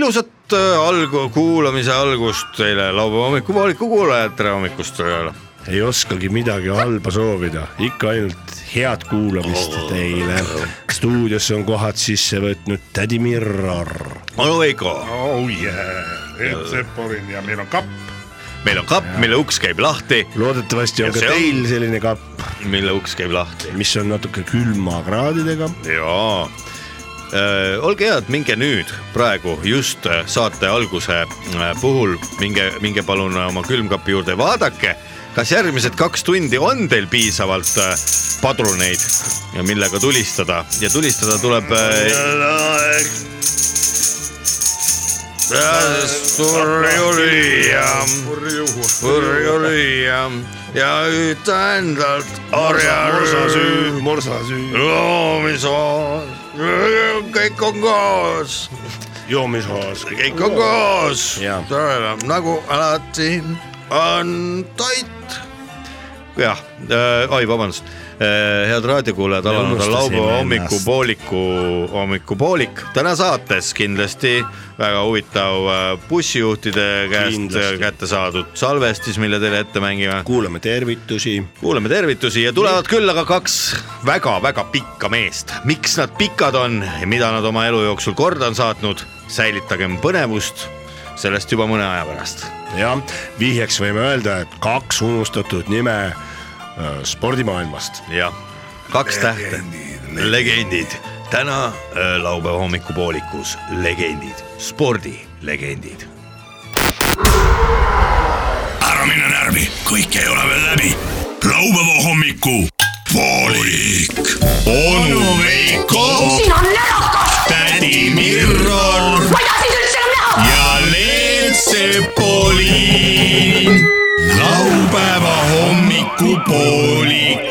ilusat äh, algu , kuulamise algust teile laupäeva hommikupooliku kuulajad , tere hommikust teile . ei oskagi midagi halba soovida , ikka ainult head kuulamist teile . stuudiosse on kohad sisse võtnud tädi Mirror . onu Veiko , oh yeah , Eet Sepolin ja meil on kapp , meil on kapp , mille uks käib lahti , loodetavasti Ja on ka see on- teil selline kapp , mille uks käib lahti . mis on natuke külmakraadidega . jaa , olge head , minge nüüd praegu just äh, saate alguse äh, puhul , minge , minge palun äh, oma külmkapi juurde , vaadake , kas järgmised kaks tundi on teil piisavalt äh, padruneid , millega tulistada ja tulistada tuleb äh, . surjulüüa , surjulüüa ja hüüta endalt orjarüü . morsasüü , loomisoos , kõik on koos , joomishoos . kõik on koos Jaa. . nagu alati on toit . jah äh, , oi , vabandust äh, , head raadiokuulajad , alanud on unustasime laupäeva ennast. hommikupooliku , hommikupoolik . täna saates kindlasti väga huvitav äh, bussijuhtide käest Kindlasti. äh, kätte saadud salvestis , mille teile ette mängime . kuulame tervitusi , kuulame tervitusi ja tulevad külla ka kaks väga-väga pikka meest . miks nad pikad on ja mida nad oma elu jooksul korda on saatnud , säilitagem põnevust sellest juba mõne aja pärast . jah , vihjeks võime öelda , et kaks unustatud nime äh, spordimaailmast . jah , kaks tähte , legendid . täna äh, laupäeva hommikupoolikus legendid , spordilegendid . ära mine närvi , kõik ei ole veel läbi . laupäeva hommiku poolik . onu Veiko , siin on närakas , tädi Mirror ma ei taha sind üldse enam näha . ja Leet Sepolin . laupäeva hommiku poolik .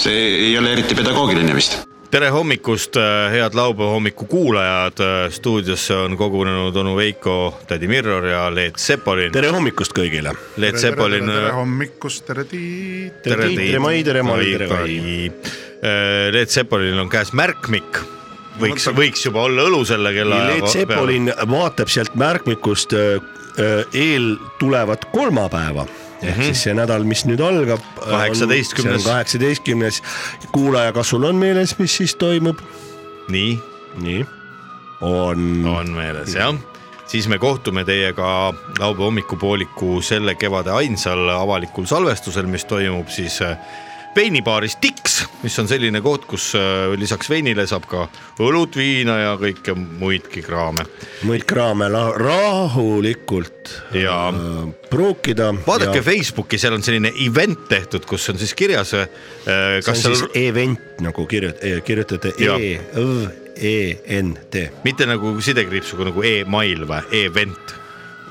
see ei ole eriti pedagoogiline vist . tere hommikust , head laupäeva hommiku kuulajad . stuudiosse on kogunenud onu Veiko , tädi Mirror ja Leet Sepolin . tere hommikust kõigile . Leet äh, Sepolin . tere hommikust , tere Tiit . tere Tiit , tere Mai , tere Mari , tere Kai . Kai . Äh, Leet Sepolil on käes märkmik , võiks , võiks juba olla õlu selle kella . Leet Sepolin vaatab sealt märkmikust äh, öö, öö, eeltulevat kolmapäeva ehk mm -hmm. siis see nädal , mis nüüd algab . 18.. kaheksateistkümnes . kuulaja , kas sul on meeles , mis siis toimub ? nii , nii , on no. on meeles jah , siis me kohtume teiega laupäeva hommikupooliku selle kevade ainsal avalikul salvestusel , mis toimub siis äh, veinibaaris Tiks , mis on selline koht , kus äh, lisaks veinile saab ka õlut , viina ja kõike muidki kraame mõõt kraame la- rahulikult ja öö, pruukida . vaadake ja. Facebooki , seal on selline event tehtud , kus on siis kirjas , kas kas see seal on siis event nagu kirjut- , kirjutate Jah. E , Õ , E , N , T . mitte nagu sidekriipsuga nagu email või event ,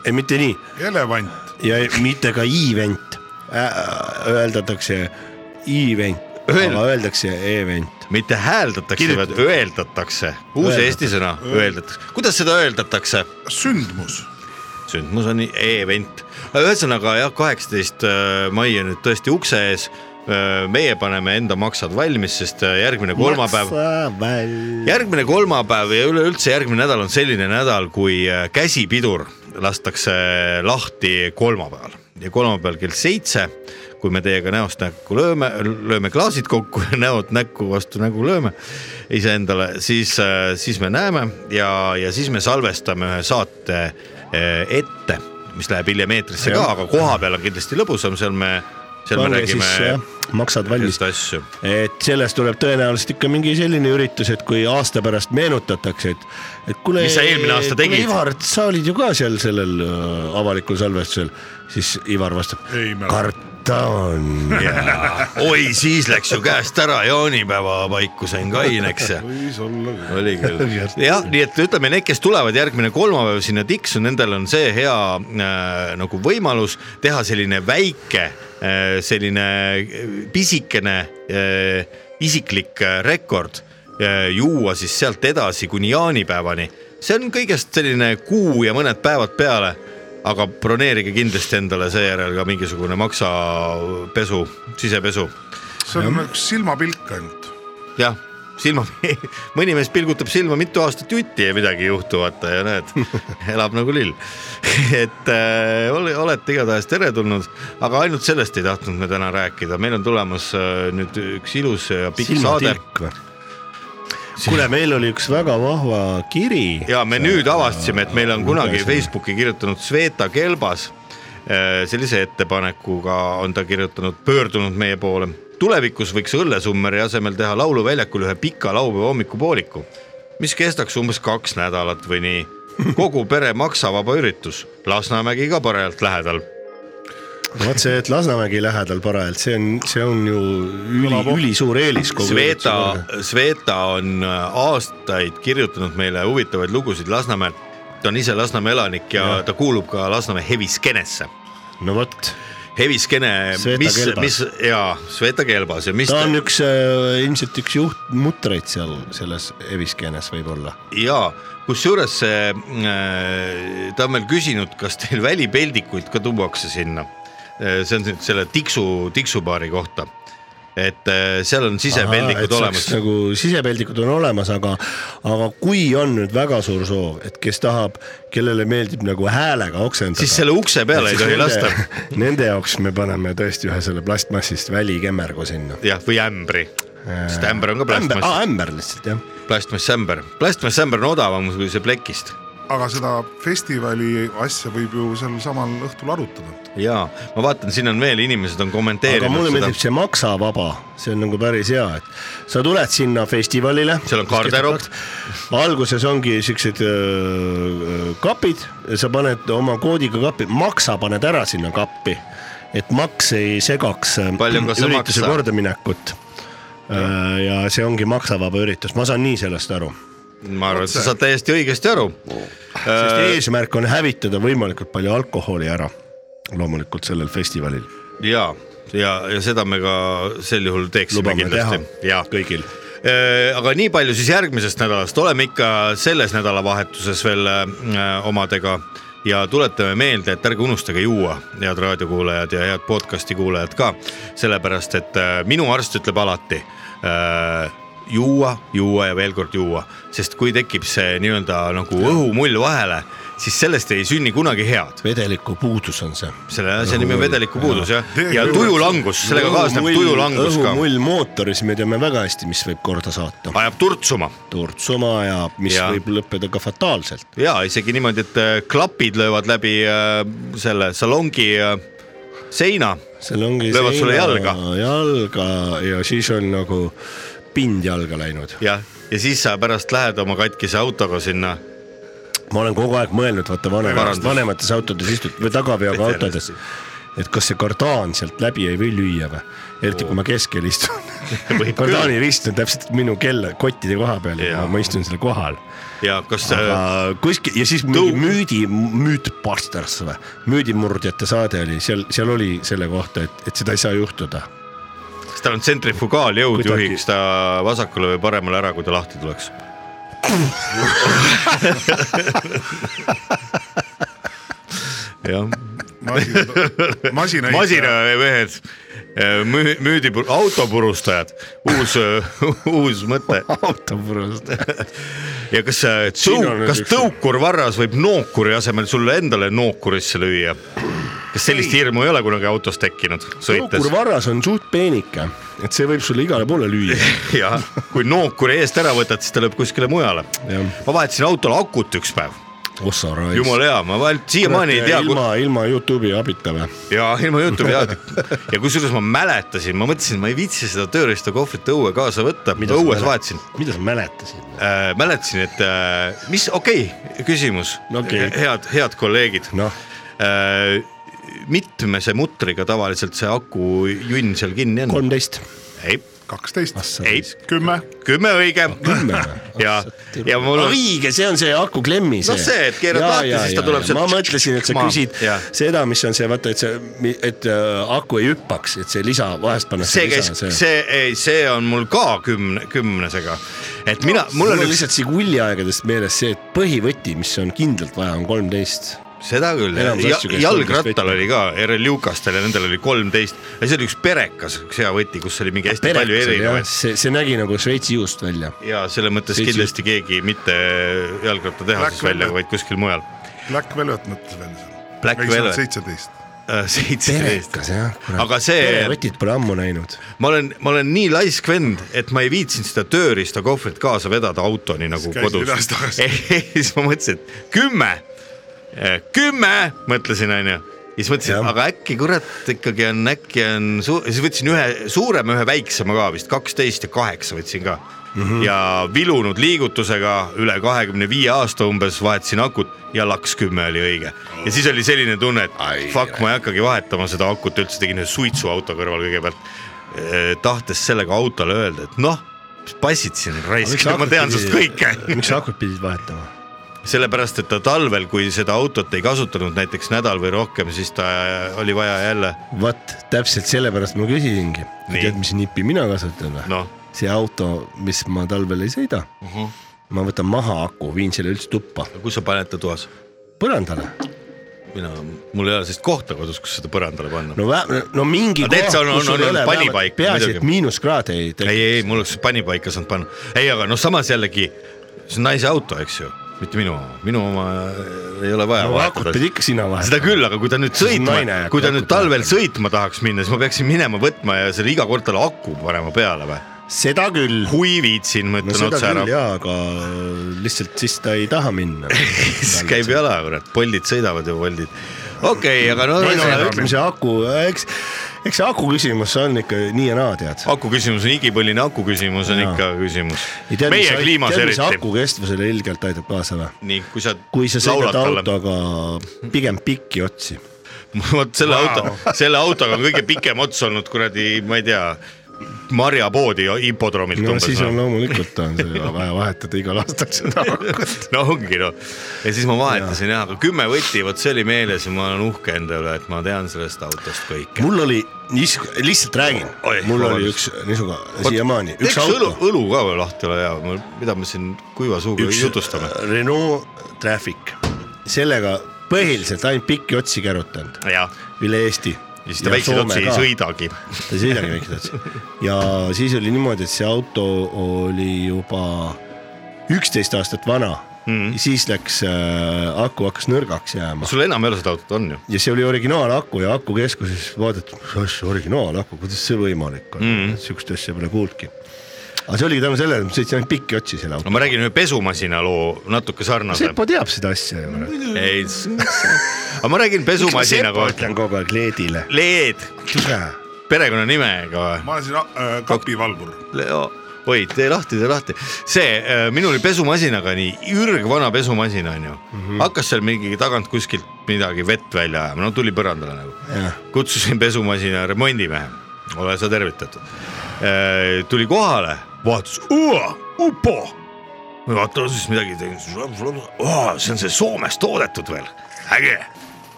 ei , mitte nii elevant , ja mitte ka event , öeldakse event , Öel- aga öeldakse event . mitte hääldatakse , vaid öeldatakse , uus Öeldatakse. eesti sõna , öeldatakse , kuidas seda öeldatakse ? sündmus , sündmus on event , ühesõnaga jah , kaheksateist äh, mai on nüüd tõesti ukse ees . meie paneme enda maksad valmis , sest äh, järgmine kolmapäev , järgmine kolmapäev ja üleüldse järgmine nädal on selline nädal , kui äh, käsipidur lastakse äh, lahti kolmapäeval ja kolmapäeval kell seitse , kui me teiega näost näkku lööme , lööme klaasid kokku ja näod näkku vastu nägu lööme iseendale , siis , siis me näeme ja , ja siis me salvestame ühe saate äh, ette , mis läheb hiljem eetrisse ka , Jah. aga koha peal on kindlasti lõbusam , seal me , seal me pange räägime siis jah, maksad valmis igast , asju . et sellest tuleb tõenäoliselt ikka mingi selline üritus , et kui aasta pärast meenutatakse , et , et kuule . Mis sa eelmine aasta tegid? Ivar , sa olid ju ka seal sellel äh, avalikul salvestusel , siis Ivar vastab Ei mäleta. , karta on ja oi , siis läks ju käest ära , jaanipäeva paiku sain kaineks ja võis olla küll . oli küll , jah , nii et ütleme , need , kes tulevad järgmine kolmapäev sinna tiksu , nendel on see hea äh, nagu võimalus teha selline väike äh, , selline äh, pisikene äh, isiklik äh, rekord äh, , juua siis sealt edasi kuni jaanipäevani . see on kõigest selline kuu ja mõned päevad peale , aga broneerige kindlasti endale seejärel ka mingisugune maksapesu , sisepesu , see on üks silmapilk ainult , jah silma , mõni mees pilgutab silma mitu aastat jutti ja midagi ei juhtu , vaata ja näed , elab nagu lill . et äh, ole- olete igatahes teretulnud , aga ainult sellest ei tahtnud me täna rääkida , meil on tulemas äh, nüüd üks ilus ja pikk saade . või ? kuule , meil oli üks väga vahva kiri . ja me nüüd avastasime , et meile on kunagi lugesime. Facebooki kirjutanud Sveta Kelbas . sellise ettepanekuga on ta kirjutanud , pöördunud meie poole . tulevikus võiks Õllesummeri asemel teha lauluväljakul ühe pika laupäeva hommikupooliku , mis kestaks umbes kaks nädalat või nii . kogu pere maksavaba üritus , Lasnamägi ka parajalt lähedal . vot see , et Lasnamägi lähedal parajalt , see on , see on ju üli , ülisuur eelis . Sveta , Sveta on äh, aastaid kirjutanud meile huvitavaid lugusid Lasnamäelt . ta on ise Lasnamäe elanik ja, ja. ta kuulub ka Lasnamäe heviskenesse no vot , heviskene , Sveta mis , Kelbas. mis ja Sveta Kelbas ja mis ta on üks äh, ilmselt üks juhtmutreid seal selles Eviskeenes võib-olla . ja kusjuures see äh, ta on meil küsinud , kas teil välipeldikuid ka tuuakse sinna . see on nüüd selle tiksu , tiksubaari kohta , et äh, seal on sisepeldikud olemas . nagu sisepeldikud on olemas , aga , aga kui on nüüd väga suur soov , et kes tahab , kellele meeldib nagu häälega oksendada . siis selle ukse peale ei tohi lasta . Nende jaoks me paneme tõesti ühe selle plastmassist välikemmergu sinna . jah , või ämbri , sest ämber on ka ämber , plastmass , ämber lihtsalt jah . plastmassämber , plastmassämber on odavam kui see plekist aga seda festivali asja võib ju sel samal õhtul arutada . ja ma vaatan , siin on veel inimesed on aga kommenteerinud mulle seda meeldib , see maksavaba , see on nagu päris hea , et sa tuled sinna festivalile . Seal on garderoob. . alguses ongi siuksed öö, kapid , sa paned oma koodiga kappi , maksa paned ära sinna kappi , et maks ei segaks äh, Palju on ka see ürituse maksa? kordaminekut . ja see ongi maksavaba üritus , ma saan nii sellest aru , ma arvan , et sa saad täiesti õigesti aru sest eesmärk on hävitada võimalikult palju alkoholi ära , loomulikult sellel festivalil ja , ja , ja seda me ka sel juhul teeksime lubame teha kindlasti ja kõik . kõigil . aga nii palju siis järgmisest nädalast , oleme ikka selles nädalavahetuses veel äh, omadega ja tuletame meelde , et ärge unustage juua , head raadiokuulajad ja head podcast'i kuulajad ka , sellepärast et äh, minu arst ütleb alati äh, juua , juua ja veel kord juua , sest kui tekib see nii-öelda nagu õhumull vahele , siis sellest ei sünni kunagi head . vedeliku puudus on see selle asja nimi on vedelikupuudus jah , ja Tegelikult- tujulangus , sellega kaasneb Õhumull- tujulangus ka , õhumull mootoris , me teame väga hästi , mis võib korda saata . ajab turtsuma turtsuma ja mis Ja. ja. võib lõppeda ka fataalselt . ja isegi niimoodi , et äh, klapid löövad läbi äh, selle salongi äh, seina seal ongi . Löövad sulle jalga. jalga ja siis on nagu pind jalga läinud . ja , ja siis sa pärast lähed oma katkise autoga sinna ma olen kogu aeg mõelnud , vaata vanemast , Parandus. vanemates autodes istud või tagaveaga autodes , et kas see kardaan sealt läbi ei või lüüa või , eriti kui ma keskel istun Võib . küll. kardaani rist on täpselt minu kell kottide koha peal ja Jaa. ma istun selle kohal ja kas äh, aga kuskil ja siis mingi Tõu- müüdi , müütbusters või , müüdimurdjate saade oli seal , seal oli selle kohta , et , et seda ei saa juhtuda . kas tal on tsentrifugaaljõud , Kuidagi- juhiks ta vasakule või paremale ära , kui ta lahti tuleks . jah masina . masinamehed , müüdi , autopurustajad , uus , uus mõte . autopurust . ja kas äh, Siin tõu- on , nüüd kas üks- tõukur varras võib nookuri asemel sulle endale nookurisse lüüa ? kas sellist hirmu ei ole kunagi autos tekkinud sõites tõukur ? varras on suht peenike , et see võib sulle igale poole lüüa . jah , kui nookuri eest ära võtad , siis ta lööb kuskile mujale . Jah. ma vahetasin autol akut üks päev , ossa raisk . jumala hea , ma vahel siiamaani ei tea . ilma , ilma Youtube'i abita või ? ja ilma Youtube'i ja , ja kusjuures ma mäletasin , ma mõtlesin , ma ei viitsi seda tööriistakohvrit õue kaasa võtta , õues vahetasin . mida sa mäletasid ? Äh, mäletasin , et äh, mis , okei okay, , küsimus Okei. head , head kolleegid Noh. äh, . mitmese mutriga tavaliselt see aku junn seal kinni on ? kolmteist . ei , kaksteist , ei , kümme , kümme õige . ja , ja mul on , õige , see on see aku klemmi see . No see, et keerad lahti, siis ta tuleb sealt ma mõtlesin , et sa maha. küsid Jaa. seda , mis on see , vaata , et see , et äh, aku ei hüppaks , et see lisa , vahest pannakse see lisa käis ,. see , ei , see on mul ka kümne , kümnesega , et mina , mul mul on on üks , lihtsalt Žiguli aegadest meeles see , et põhivõti , mis on kindlalt vaja , on kolmteist . seda küll enamus , asju käis jalgrattal kolmteist oli ka , RL Jukastel ja nendel oli kolmteist ja see oli üks perekas , üks hea võti , kus oli mingi hästi palju erinevaid see , see nägi nagu Šveitsi juust välja . ja selles mõttes Siis kindlasti keegi mitte jalgrattatehases Black välja , Velvet. vaid kuskil mujal . Black Velvet mõtles veel seal . Black Velvet. seitseteist . Äh, seitseteist , perekas jah . Aga see- perevõtit pole ammu näinud . ma olen , ma olen nii laisk vend , et ma ei viitsinud seda tööriistakohvrit kaasa vedada autoni nagu Siis käisid kodus . edasi-tagasi. siis ma mõtlesin , et kümme , Äh, kümme , mõtlesin onju . ja siis mõtlesin , Jah. aga äkki kurat ikkagi on , äkki on suur , siis võtsin ühe suurema , ühe väiksema ka vist , kaksteist ja kaheksa võtsin ka mm . -hmm. ja vilunud liigutusega üle kahekümne viie aasta umbes vahetasin akut ja laks kümme oli õige . ja siis oli selline tunne , et ai, fuck , ma ei hakkagi vahetama seda akut üldse , tegin ühe suitsuauto kõrval kõigepealt . tahtes sellega autole öelda , et noh , passid siin raisk , ma tean sinust kõike . miks sa akut pidid vahetama ? sellepärast , et ta talvel , kui seda autot ei kasutanud näiteks nädal või rohkem , siis ta äh, oli vaja jälle vot täpselt sellepärast ma küsisingi . Nii. tead , mis nippi mina kasutan või ? noh , see auto , mis ma talvel ei sõida uh . -huh. Mhm. ma võtan maha aku , viin selle üldse tuppa , kus sa paned ta toas ? põrandale . mina , mul ei ole sellist kohta kodus , kus seda põrandale panna no. . no , no mingi Aga teed sa- on- on- on panipaik peaasi , et muidugi. miinuskraad ei ei , ei , mul oleks panipaika saanud panna . ei , aga noh , samas jällegi , see on naise auto , eks ju , mitte minu oma , minu oma äh, ei ole vaja no akut vahetada pidi ikka sina seda vahetama . küll , aga kui ta nüüd Siis sõitma naine jääb , kui ta nüüd akut talvel sõitma tahaks minna , siis ma peaksin minema võtma ja selle iga kord talle aku panema peale või ? seda küll . kui viitsin , ma no ütlen seda otse küll ära . jaa , aga lihtsalt siis ta ei taha minna . siis käib jala , kurat , Boltid sõidavad ju , Boltid . okei , aga no ei no ühesõnaga ütleme ütleme , see aku , eks , eks see aku küsimus on ikka nii ja naa , tead . aku küsimus on igipõline , aku küsimus on Jaa. ikka küsimus . meie kliimas eriti . aku kestvusele ilgelt aitab kaasa või ? nii , kui sa kui sa laulad sõidad talle , autoga pigem pikki otsi . vot selle auto , selle autoga on kõige pikem ots olnud kuradi , ma ei tea , marjapoodi hipodroomilt no umbes siis noh. on loomulikult on see vaja vahetada igal aastal seda akut . no ongi noh , ja siis ma vahetasin jah , aga kümme võti , vot see oli meeles ja ma olen uhke enda üle , et ma tean sellest autost kõike . mul oli , lihtsalt räägin Oi, , mul oli vabandust. üks niisugune siiamaani , üks õlu auto ,, õlu ka veel lahti ole hea , mida me siin kuiva suuga üks jutustame . Renault Traffic , sellega põhiliselt ainult pikki otsi kärutanud jah , üle Eesti . ja siis ta väikseid otsi ei . sõidagi . ta ei sõidagi väikseid otsi ja siis oli niimoodi , et see auto oli juba üksteist aastat vana mm. , siis läks äh, , aku hakkas nõrgaks jääma sul enam ei ole seda autot , on ju ? ja see oli originaalaku ja akukeskuses vaadati , mis asja originaalaku , kuidas see võimalik on mm. , sihukest asja pole kuulnudki . aga see oligi tänu sellele , et ma sõitsin ainult pikki otsi selle no autoga ma räägin ühe pesumasina loo natuke no, . sarnase . Sepo teab seda asja ju . ei , aga ma räägin pesumasina kohta . ütlen kogu aeg Leedile . Leed , perekonnanimega või ? ma olen siin äh, kapivalvur . Leo , oi , tee lahti , tee lahti . see , minul oli pesumasinaga nii , ürgvana pesumasin onju mm , -hmm. hakkas seal mingi tagant kuskilt midagi vett välja ajama , no tuli põrandale nagu . kutsusin pesumasina remondimehe , ole sa tervitatud . tuli kohale , vaatas , upo . vaata siis midagi tegin , see on see Soomes toodetud veel , äge .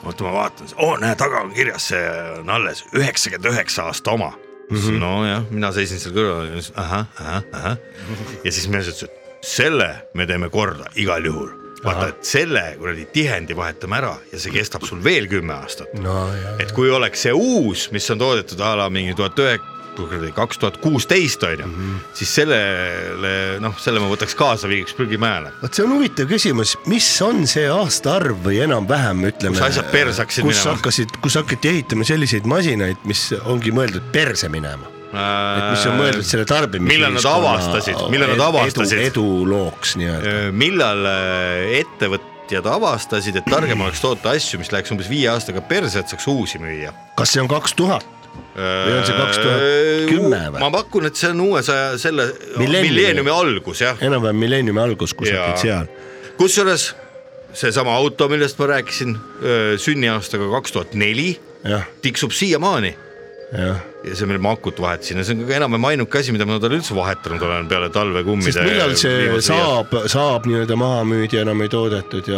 oota , ma vaatan , oo näe , taga on kirjas , see on alles üheksakümmend üheksa aasta oma . nojah , mina seisin seal kõrval , ahah , ahah , ahah ja siis mees ütles , et selle me teeme korda igal juhul . vaata , et selle kuradi tihendi vahetame ära ja see kestab sul veel kümme aastat . nojah , et kui oleks see uus , mis on toodetud a la mingi tuhat ühe , kuradi kaks tuhat kuusteist on ju , Mhm. siis sellele noh , selle ma võtaks kaasa , viiks prügimajale . vot see on huvitav küsimus , mis on see aastaarv või enam-vähem , ütleme . Kus asjad perse hakkasid kus minema? hakkasid , kus hakati ehitama selliseid masinaid , mis ongi mõeldud perse minema et mis on mõeldud selle tarbimise . millal nad avastasid , millal nad avastasid , edulooks nii-öelda . äh, millal äh, ettevõtjad avastasid , et targem oleks toota asju , mis läheks umbes viie aastaga perse , et saaks uusi müüa Äh, kas see on kaks tuhat ? Või on see 2010 või? ma pakun , et see on uue saja , selle Millenniumi. milleeniumi algus jah , enam-vähem millenniumi algus Jaa. kusagil seal . kusjuures seesama auto , millest ma äh, rääkisin , sünniaastaga kaks tuhat neli , jah , tiksub siiamaani jah . ja see, mille ma akut vahetasin ja see on ka enam-vähem ainuke asi , mida ma talle üldse vahetanud olen peale talvekummide . sest millal see saab , saab nii-öelda maha müüdi , enam ei toodetud ja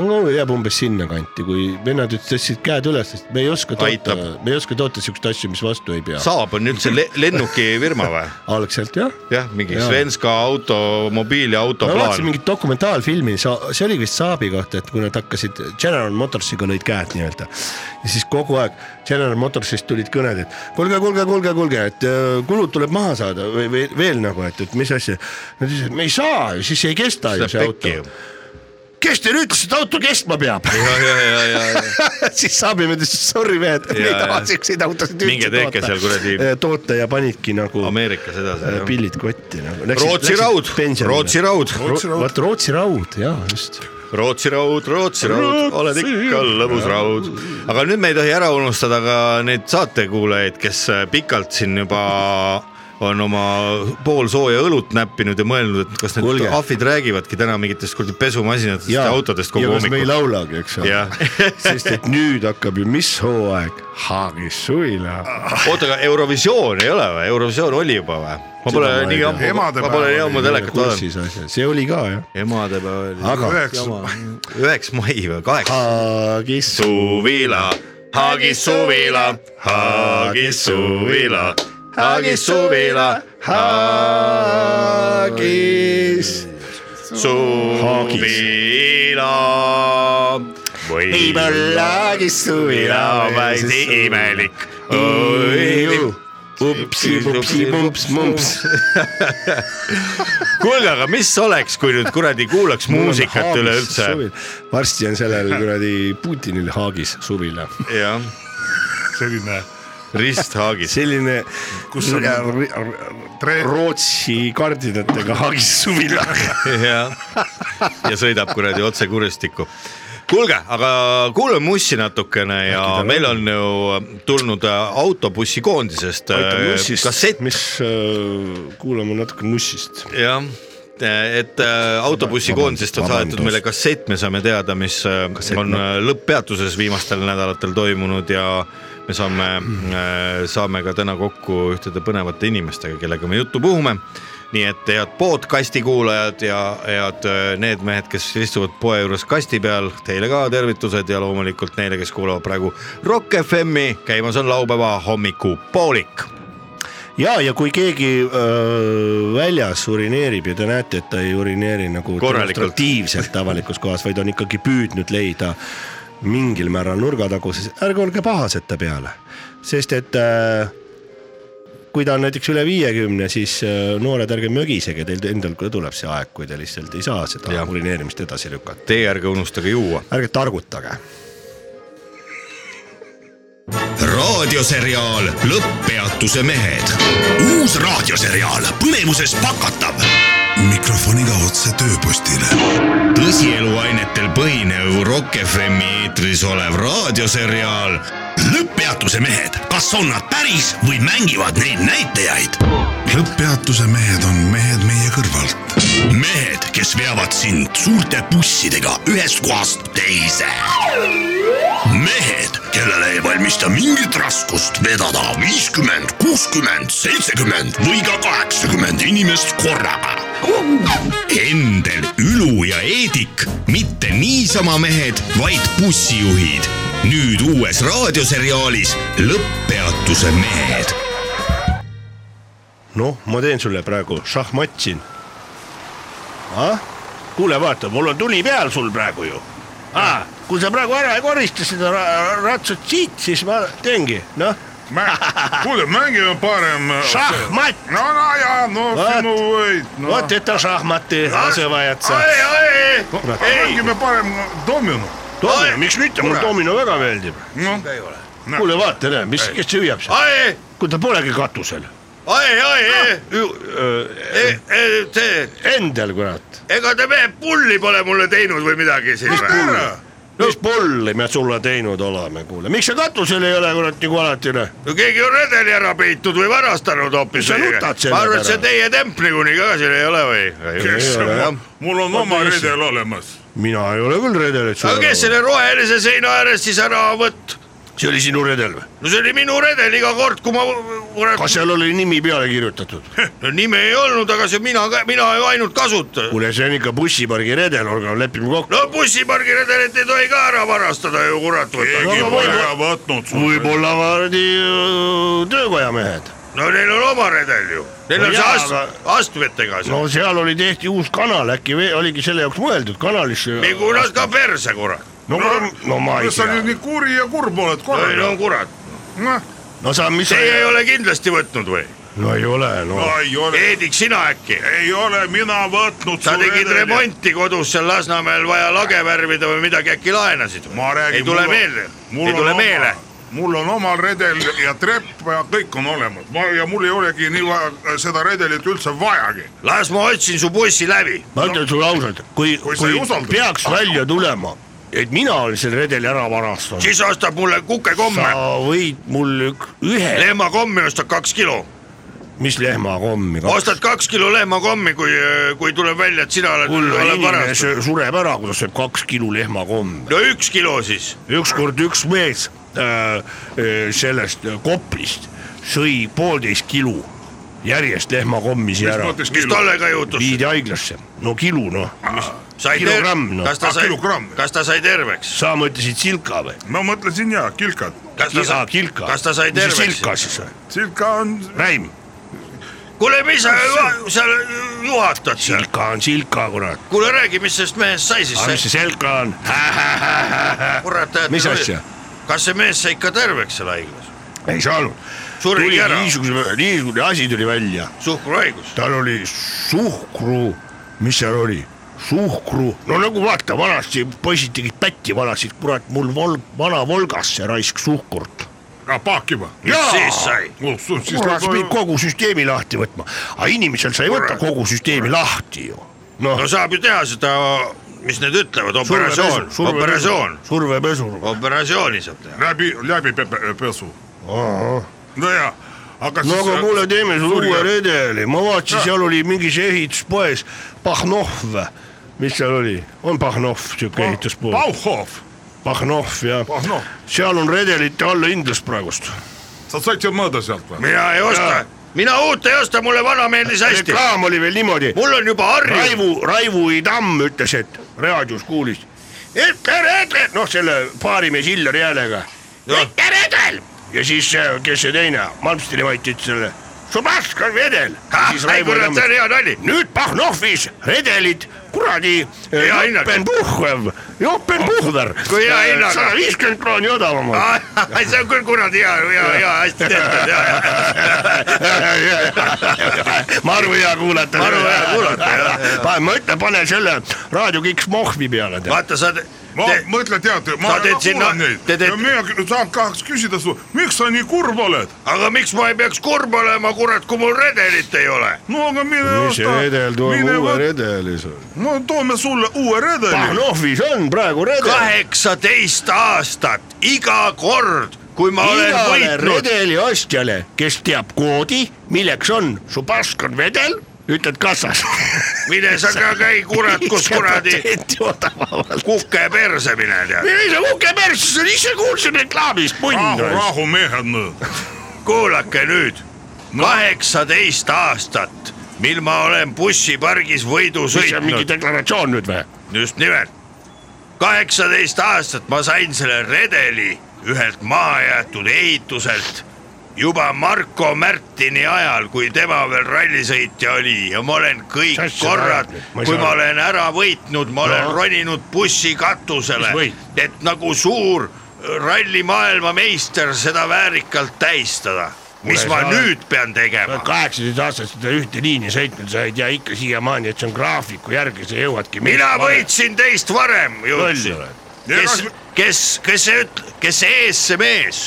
no, jääb umbes sinnakanti , kui vennad nüüd tõstsid käed üles , sest me ei oska toota Aitab. , me ei oska toota siukseid asju , mis vastu ei pea . saab on üldse le lennukifirma või ? algselt jah . jah , mingi Jaa. Svenska auto , mobiiliauto ma vaatasin plaan . mingit dokumentaalfilmi , see oli vist Saabi kohta , et kui nad hakkasid General Motorsiga lõid käed nii-öelda ja siis kogu aeg General Motorsist tulid kõned , et kuulge , kuulge , kuulge , kuulge , et öö, kulud tuleb maha saada või , või veel nagu , et , et mis asja . Nad ütlesid , et me ei saa ju , siis ei kesta ju Läheb see pekki auto ju .. kes teile ütles , et auto kestma peab ? ja , ja , ja , ja , ja siis Saabi ütles , sorry mehed , me ei Jaa, taha jaa. siukseid autosid Minge üldse tehke seal kuradi- toota . toota ja panidki nagu Ameerikas edasi äh, . pillid kotti nagu . Rootsi raud , Rootsi raud , Rootsi raud. vot Rootsi raud jaa , just . Rootsi raud , Rootsi raud , oled ikka lõbus raud . aga nüüd me ei tohi ära unustada ka neid saatekuulajaid , kes äh, pikalt siin juba on oma poolsooja õlut näppinud ja mõelnud , et kas need Kuulge. ahvid räägivadki täna mingitest kuradi pesumasinatest ja autodest kogu ja kas me ei hommiku . laulagi , eks ole Jah. sest et nüüd hakkab ju mis hooaeg ? Haagisuila . oota , aga Eurovisioon ei ole või , Eurovisioon oli juba või ? ma Seda pole ma ei nii tea. ammu , ma Emadepäev pole nii oli ammu telekat vaadanud . kursis asja , see oli ka jah . emadepäev oli aga üheksa , üheks mai või kaheksa . Haagis . suvila , Haagis suvila , Haagis suvila , Haagis suvila , Haagis . suvila . võib-olla Haagis suvila vaid imelik . upsi , upsi , mumps , mumps . kuulge , aga mis oleks , kui nüüd kuradi kuulaks muusikat üleüldse ? varsti on sellel kuradi Putinil Haagis suvila . jah , selline risthaagis . selline , kus on tre- Rootsi kardinatega Haagis suvila . ja , ja sõidab kuradi otse kuristikku . kuulge , aga kuulame ussi natukene ja Äkki tal meil on ju tulnud äh, autobussikoondisest äh, kassett , mis äh, kuulame natuke Nussist . jah , et äh, autobussikoondisest on Vabandust. saadetud meile kassett , me saame teada , mis äh, on äh, lõpppeatuses viimastel nädalatel toimunud ja me saame , saame ka täna kokku ühtede põnevate inimestega , kellega me juttu puhume . nii et head podcast'i kuulajad ja head äh, need mehed , kes istuvad poe juures kasti peal , teile ka tervitused ja loomulikult neile , kes kuulavad praegu Rock FM-i , käimas on laupäeva hommikupoolik . ja , ja kui keegi öö, väljas urineerib ja te näete , et ta ei urineeri nagu Korralikult. demonstratiivselt avalikus kohas , vaid on ikkagi püüdnud leida mingil määral nurgataguses , ärge olge pahased ta peale , sest et äh, kui ta on näiteks üle viiekümne , siis äh, noored , ärge mögisege , teil endal ka tuleb see aeg , kui te lihtsalt ei saa seda Jah. ja. urineerimist edasi lükata , Teie ärge unustage juua . ärge targutage raadioseriaal Lõpppeatuse mehed . uus raadioseriaal põnevuses pakatav . mikrofoniga otse tööpostile . tõsieluainetel põhinev Rock FM-i eetris olev raadioseriaal Lõpppeatuse mehed , kas on nad päris või mängivad neid näitajaid ? lõpppeatuse mehed on mehed meie kõrvalt . mehed , kes veavad sind suurte bussidega ühest kohast teise mehed , kellele ei valmista mingit raskust vedada viiskümmend , kuuskümmend , seitsekümmend või ka kaheksakümmend inimest korraga . Endel , Ülu ja Eedik , mitte niisama mehed , vaid bussijuhid . nüüd uues raadioseriaalis Lõpppeatuse mehed . noh , ma teen sulle praegu šahmat siin . ah , kuule , vaata , mul on tuli peal sul praegu ju ah, . kui sa praegu ära ei korista seda ra- ratsut siit , siis ma teengi , noh , kuule , mängime parem . šahmat , no , no ja , no Vaat. sinu võit , no . vot eta šahmati asevajad Noh. sa . ei , ei , ei , mängime parem domino . Domino , miks mitte , mulle domino väga meeldib . noh , kuule , vaata , näe , mis , kes see hüüab seal , ai , kui ta polegi katusel . ai , ai , see , Endel , kurat , ega te mehe pulli pole mulle teinud või midagi siin või ? mis pulli me sulle teinud oleme , kuule , miks sa katusel ei ole , kurat , nagu alati , noh . no keegi on redeli ära peitnud või varastanud hoopis . Sa nutad selle ma arvan , et see peale. teie temp niikuinii ka siin ei ole või ? Ei ole, jah. mul on oma tõsi. redel olemas . mina ei ole küll redelit . aga kes selle rohelise seina ääres siis ära võtt- , see oli sinu redel või ? no see oli minu redel iga kord , kui ma kas seal oli nimi peale kirjutatud ? no, nime ei olnud , aga see mina , mina ju ainult kasutan . kuule , see on ikka bussipargi redel , olge , lepime kokku . no bussipargi redelit ei tohi ka ära varastada ju kurat Ei, võtta . aga pole võib- ära võtnud . võib-olla kuradi öö, töökoja mehed . no neil on oma redel ju , neil No on see jaa, ast- aga- , astmetega see no. . no seal oli , tehti uus kanal , äkki ve- oligi selle jaoks mõeldud kanalis . nagu nad ka perse kurat , no , no ma ei sa nüüd tea . nii kuri ja kurb oled neil korraga on . kurat , no sa , mis sa teie ei ole kindlasti võtnud või ? no ei ole , no no ei ole , Heedik , sina äkki ? ei ole mina võtnud . sa tegid . remonti kodus seal Lasnamäel vaja lage värvida või midagi , äkki laenasid ? ma räägin . ei tule meelde , ei tule meele . mul on omal redel ja trepp ja kõik on olemas , ma ja mul ei olegi nii vaja äh, seda redelit üldse vajagi . las ma otsin su bussi läbi . ma ütlen sulle ausalt , kui , Kui kui, sa ei kui usalda. peaks välja tulema , et mina olen selle redeli ära varastanud , siis ostab mulle kukekomme sa , võid mul ük- ühe , lehmakommi ostad kaks kilo , mis lehmakommi . ostad kaks kilo lehmakommi , kui , kui tuleb välja , et sina oled , kulla oled inimene varastatud . sö- sureb ära , kui ta sööb kaks kilo lehmakommi . no üks kilo siis , ükskord üks mees äh, äh, sellest äh, Koplist sõi poolteist kilo järjest lehmakommisi ära , mis tallega juhtus ? viidi haiglasse , no kilo noh , sai kilogramm, noh. kas ta Ah, sai kilogramm. , kas ta sai terveks ? sa mõtlesid silka või ? ma mõtlesin ja kilkad , kas ta sai , kilka , kas ta sai terveks ? silka siis või ? silka on , räim , kuule , mis sa ju- seal juhatad seal ? silka on silka , kurat . kuule , räägi , mis sellest mehest sai siis aga mis ? see selka on ? kurat , tead . Mis asja? ? kas see mees sai ikka terveks seal haiglas ? ei saanud . Surigi tuli ära. niisuguse , niisugune asi tuli välja , suhkruhaigus . tal oli suhkru , mis seal oli , suhkru , no nagu vaata , vanasti poisid tegid pätti , valasid , kurat , mul vol- , vana Volgasse raisk suhkurt . paaki või ? mis siis sai ? siis kurat , nagu- sa pidid kogu süsteemi lahti võtma , aga inimesel sa ei võta kogu süsteemi lahti ju . noh no , saab ju teha seda , mis need ütlevad , operatsioon , operatsioon , survepesur . operatsiooni saab teha . läbi , läbi pepe- pesu . e no ja , aga no aga kuule , teeme sulle Suur uue jah. redeli , ma vaatasin , Jah. seal oli mingis ehituspoes Pahnov , mis seal oli , on Pahnov siuke ehituspood , Bauhof , Pahnov jah , Pahnov , seal on redelite allahindlus praegust . sa said seal mõõda sealt või ? mina ei osta , mina uut ei osta , mulle vana meeldis hästi . reklaam oli veel niimoodi , mul on juba harjunud . Raivo , Raivo Idam ütles , et raadios kuulis , et tere , tere , noh , selle baarimees Hillar häälega , Jah. et tere , tere ja siis , kes see teine , Malmsteni vait ütles talle , su mask on vedel . ei kurat , see on hea nali . nüüd Pahnovis redelid , kuradi . äh, Hea hinnaga. Jopenpuhver , Jopenpuhver . Kui hea hinnaga. Äh, sada viiskümmend krooni odavamalt . see on küll kuradi hea , hea , hea , hästi tehtud , hea , hea . maru hea kuulata . Maru hea kuulata, jah, jah. ma ütlen , pane selle raadiokiks Mohvi peale . vaata , sa te... ma Te... mõtlen , tead , ma sa teed väga sinna- kuulan neid te teed- ja mina kü- saan tahaks küsida su , miks sa nii kurb oled ? aga miks ma ei peaks kurb olema , kurat , kui mul redelit ei ole ? no aga mine osta , mine võta , redeli sul . no toome sulle uue redeli . Pahnovis on praegu redel . kaheksateist aastat iga kord , kui ma olen igale võitnud , redeli ostjale , kes teab koodi , milleks on su pask on vedel , ütled kassas . mine sa ka käi kurat , kus kuradi odavamalt . kuke perse mine tead . mine ise kuke persse , sa ise kuulsid reklaamist , punn rahu , rahu , mehed , kuulake nüüd , kaheksateist aastat , mil ma olen bussipargis võidu mis see on mingi sõitnud , deklaratsioon nüüd või ? just nimelt . kaheksateist aastat ma sain selle redeli ühelt mahajäetud ehituselt juba Marko Märtini ajal , kui tema veel rallisõitja oli ja ma olen kõik Mis asja ajad korrad nüüd? , Ma ei kui saa ma aru. olen ära võitnud , ma olen No. roninud bussi katusele Mis võit? , et nagu suur ralli maailmameister seda väärikalt tähistada . mis ei ma saa aru. nüüd pean tegema ? kaheksateist aastast seda ühte liini sõitnud , sa ei tea ikka siiamaani , et see on graafiku järgi , sa jõuadki . mina . võitsin teist varem , jõudsin . kes , kes , kes see üt- , kes see ees see mees ,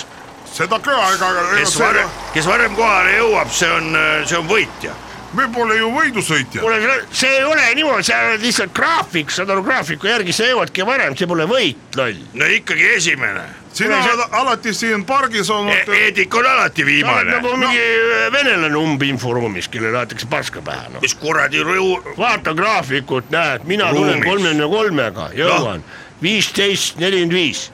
seda ka , ega , ega kes seda varem , kes varem kohale jõuab , see on , see on võitja . me pole ju võidusõitjad . kuule , see ei ole niimoodi , sa oled lihtsalt graafik , saad aru , graafiku järgi sa jõuadki varem , see pole võit , loll . no ikkagi esimene sina oled alati siin pargis e . olnud . Eedik on alati sa oled viimane nagu . mingi venelane umbinforuumis , kellele aetakse paska pähe , noh . mis kuradi rõu- , vaata graafikut , näed , mina tulen Ruumis. kolmekümne kolmega , jõuan viisteist , nelikümmend viis .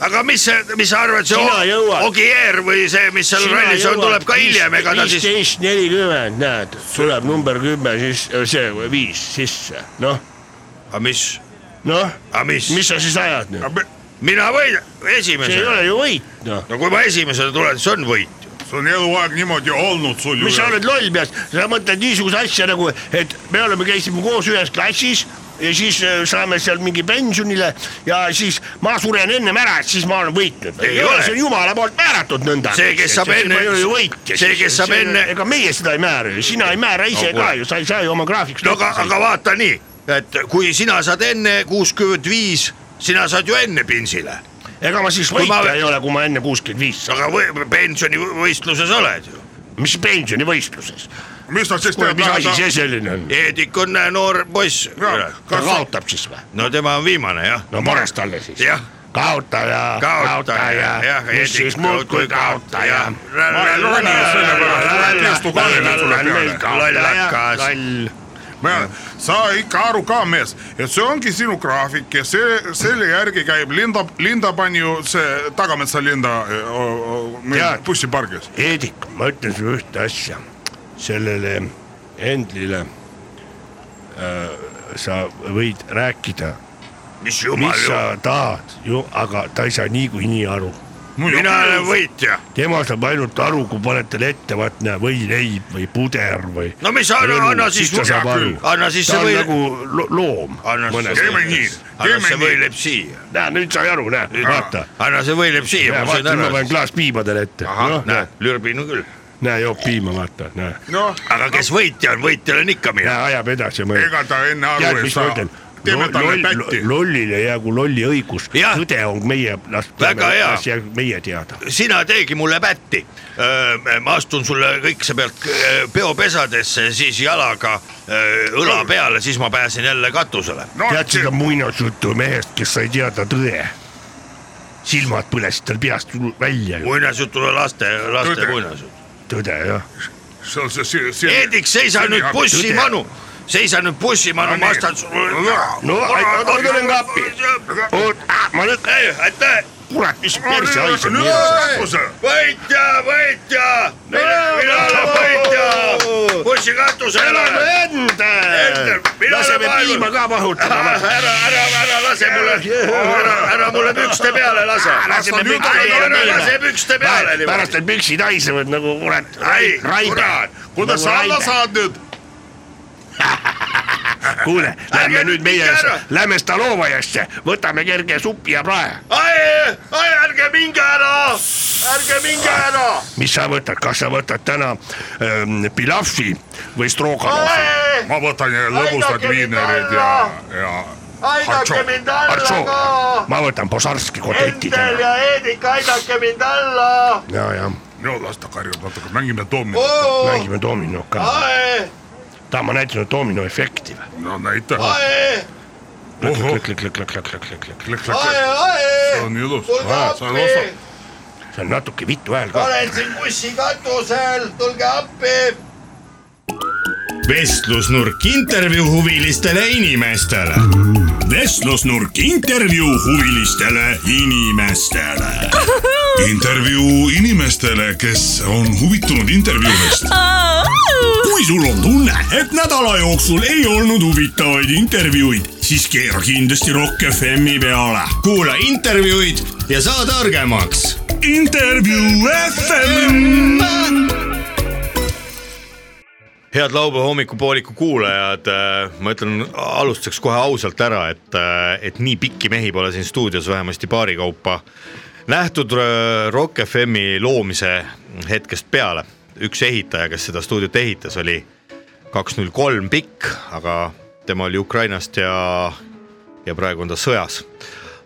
aga mis see , mis sa arvad , see Sina jõuad. O- Ogier või see , mis seal rallis on , tuleb ka hiljem , ega ta siis . viisteist nelikümmend , näed , tuleb number kümme , siis äh, see viis sisse , noh , aga mis , noh , aga mis, mis mis? , sa siis ajad nüüd ? mina võin see ei esimesena , ole ju võit , noh . no kui ma esimesena tulen , siis on võit . see on eluaeg niimoodi olnud sul ju mis sa . oled loll peas , sa mõtled niisuguse asja nagu , et me oleme , käisime koos ühes klassis ja siis äh, saame seal mingi pensionile ja siis ma suren ennem ära , et siis ma olen võitnud . Ei ole. see on jumala poolt määratud nõnda . See, kes saab enne- ei ole ju võitja . see, kes saab enne- ega meie seda ei määra ju , sina ei määra ise No ka kuule. ju , sa ei saa ju oma graafikust . no aga , aga vaata nii , et kui sina saad enne kuuskümmend viis , sina saad ju enne pinsile , ega ma siis Kui ma- võitja ei ole , kui ma enne kuuskümmend viis saan . aga või, pensionivõistluses oled ju . mis pensionivõistluses , mis nad siis kuule , mis asi teevad ? see selline on ? Eedik on äh, noor poiss , ta kas sa , kaotab siis või ? no tema on viimane jah . no paras talle siis . jah , kaotaja , kaotaja , jah , mis siis muudkui kaotaja . sa ikka aru ka , mees , et see ongi sinu graafik ja see , selle järgi käib Linda , Linda pani ju see Tagametsa Linda eh, o- o- meil Tead. bussipargis . Heedik , ma ütlen sulle ühte asja , sellele Endlile äh, sa võid rääkida , mis jumal mis ju , sa tahad , aga ta ei saa niikuinii aru mina olen võitja . tema saab ainult aru , kui paned talle ette , vaat näe , võileib või puder või . no mis , anna , anna siis , anna siis ta see on võileib , nagu lo- loom . anna siis Teeme nii, , anna teeme see nii. võileib siia , näe , nüüd sai aru , näe , vaata . anna see võileib siia , ma sain vaata , ma ära . panen klaas piima talle ette . ahah , noh , näe näe , lürbin on küll , näe , joob piima , vaata , näe . noh , aga kes võitja on , võitjal on ikka mina . ja ajab edasi ja mõelb . ega ta enne tead , aru ei mis ma saa ütlen . teeme talle pätti . lollil ei jää kui lolli õigus , Jah. tõde on meie , las Väga hea. asja meie teada . sina teegi mulle pätti , ma astun sulle kõik see pealt öö, peopesadesse , siis jalaga öö, õla peale , siis ma pääsen jälle katusele . no tead seda muinasjutu mehest , kes sai teada tõe ? silmad põlesid tal peast välja ju , muinasjutule laste , laste Tõde. muinasjutt . tõde jah see on see , see , see . Heedik , seisa nüüd bussimanu , seisa nüüd bussimanu , ma astan sulle . no aitäh , ma tulen ka appi . oot , ma nüüd , aitäh , kurat , mis perse haiseb nii edasi . nii . võitja , võitja , mina , mina olen võitja , bussikatusele . Endel , Mina laseme olen piima ka ära , mahutada . ära , ära lase mulle , ära , ära mulle pükste peale lase . Laseme pükste ära peale. lase pükste peale pärast niimoodi . need püksid haisevad nagu kurat , Nagu ai , raide kurat ., kuidas sa alla saad nüüd ? kuule , lähme Ärge nüüd nüüd meie minge ära. , lähme Stalovajasse , võtame kerge supi ja prae . ai , ai , ärge minge ära , ärge minge ära . mis sa võtad , kas sa võtad täna ähm, pilafi või stroganofi ? ai , ma võtan lõbusad Aidake mind viinerid ja , ja aidake Hartšov. mind alla ka . Artšo , ma võtan Posarski kotletid . Endel ja , ja Heedik , aidake mind alla . ja no las ta karjub natuke , mängime domino . Oh! mängime dominot Ah! ka . ai , tahan ma näitan domino efekti või ? no näita . Ah! ai , klõkk-klõkk-klõkk-klõkk-klõkk-klõkk-klõkk , Ah! ai , see ai , on ilus . Tulge see on appi. osav . see on natuke vitu hääl Ah! ka . olen siin bussikatusel , tulge appi vestlusnurk intervjuu huvilistele inimestele . vestlusnurk intervjuu huvilistele inimestele . intervjuu inimestele , kes on huvitunud intervjuudest . kui sul on tunne , et nädala jooksul ei olnud huvitavaid intervjuuid , siis keera kindlasti Rock FM-i peale . kuula intervjuud ja saa targemaks intervjuu FM . head laupäeva hommikupooliku kuulajad , ma ütlen alustuseks kohe ausalt ära , et , et nii pikki mehi pole siin stuudios vähemasti paari kaupa nähtud äh, Rock FM-i loomise hetkest peale . üks ehitaja , kes seda stuudiot ehitas , oli kaks null kolm pikk , aga tema oli Ukrainast ja , ja praegu on ta sõjas .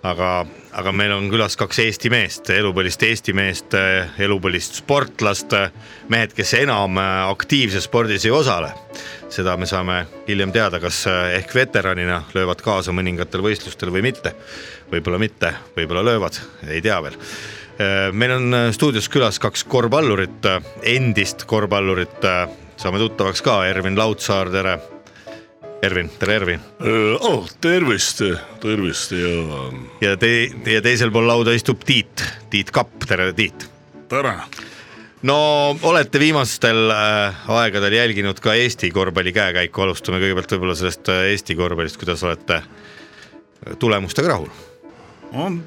aga , aga meil on külas kaks Eesti meest , elupõlist Eesti meest , elupõlist sportlast , mehed , kes enam äh, aktiivses spordis ei osale . seda me saame hiljem teada , kas äh, ehk veteranina löövad kaasa mõningatel võistlustel või mitte . võib-olla mitte , võib-olla löövad , ei tea veel Äh, meil on äh, stuudios külas kaks korvpallurit , äh, endist korvpallurit , saame tuttavaks ka , Ervin Laudsaar , tere Ervin , tere Ervin . oh, . tervist , tervist ja ja te , ja teisel pool lauda istub Tiit , Tiit Kapp , tere Tiit . tere . no olete viimastel äh, aegadel jälginud ka Eesti korvpalli käekäiku , alustame kõigepealt võib-olla sellest äh, Eesti korvpallist , kuidas olete äh, tulemustega rahul , on ,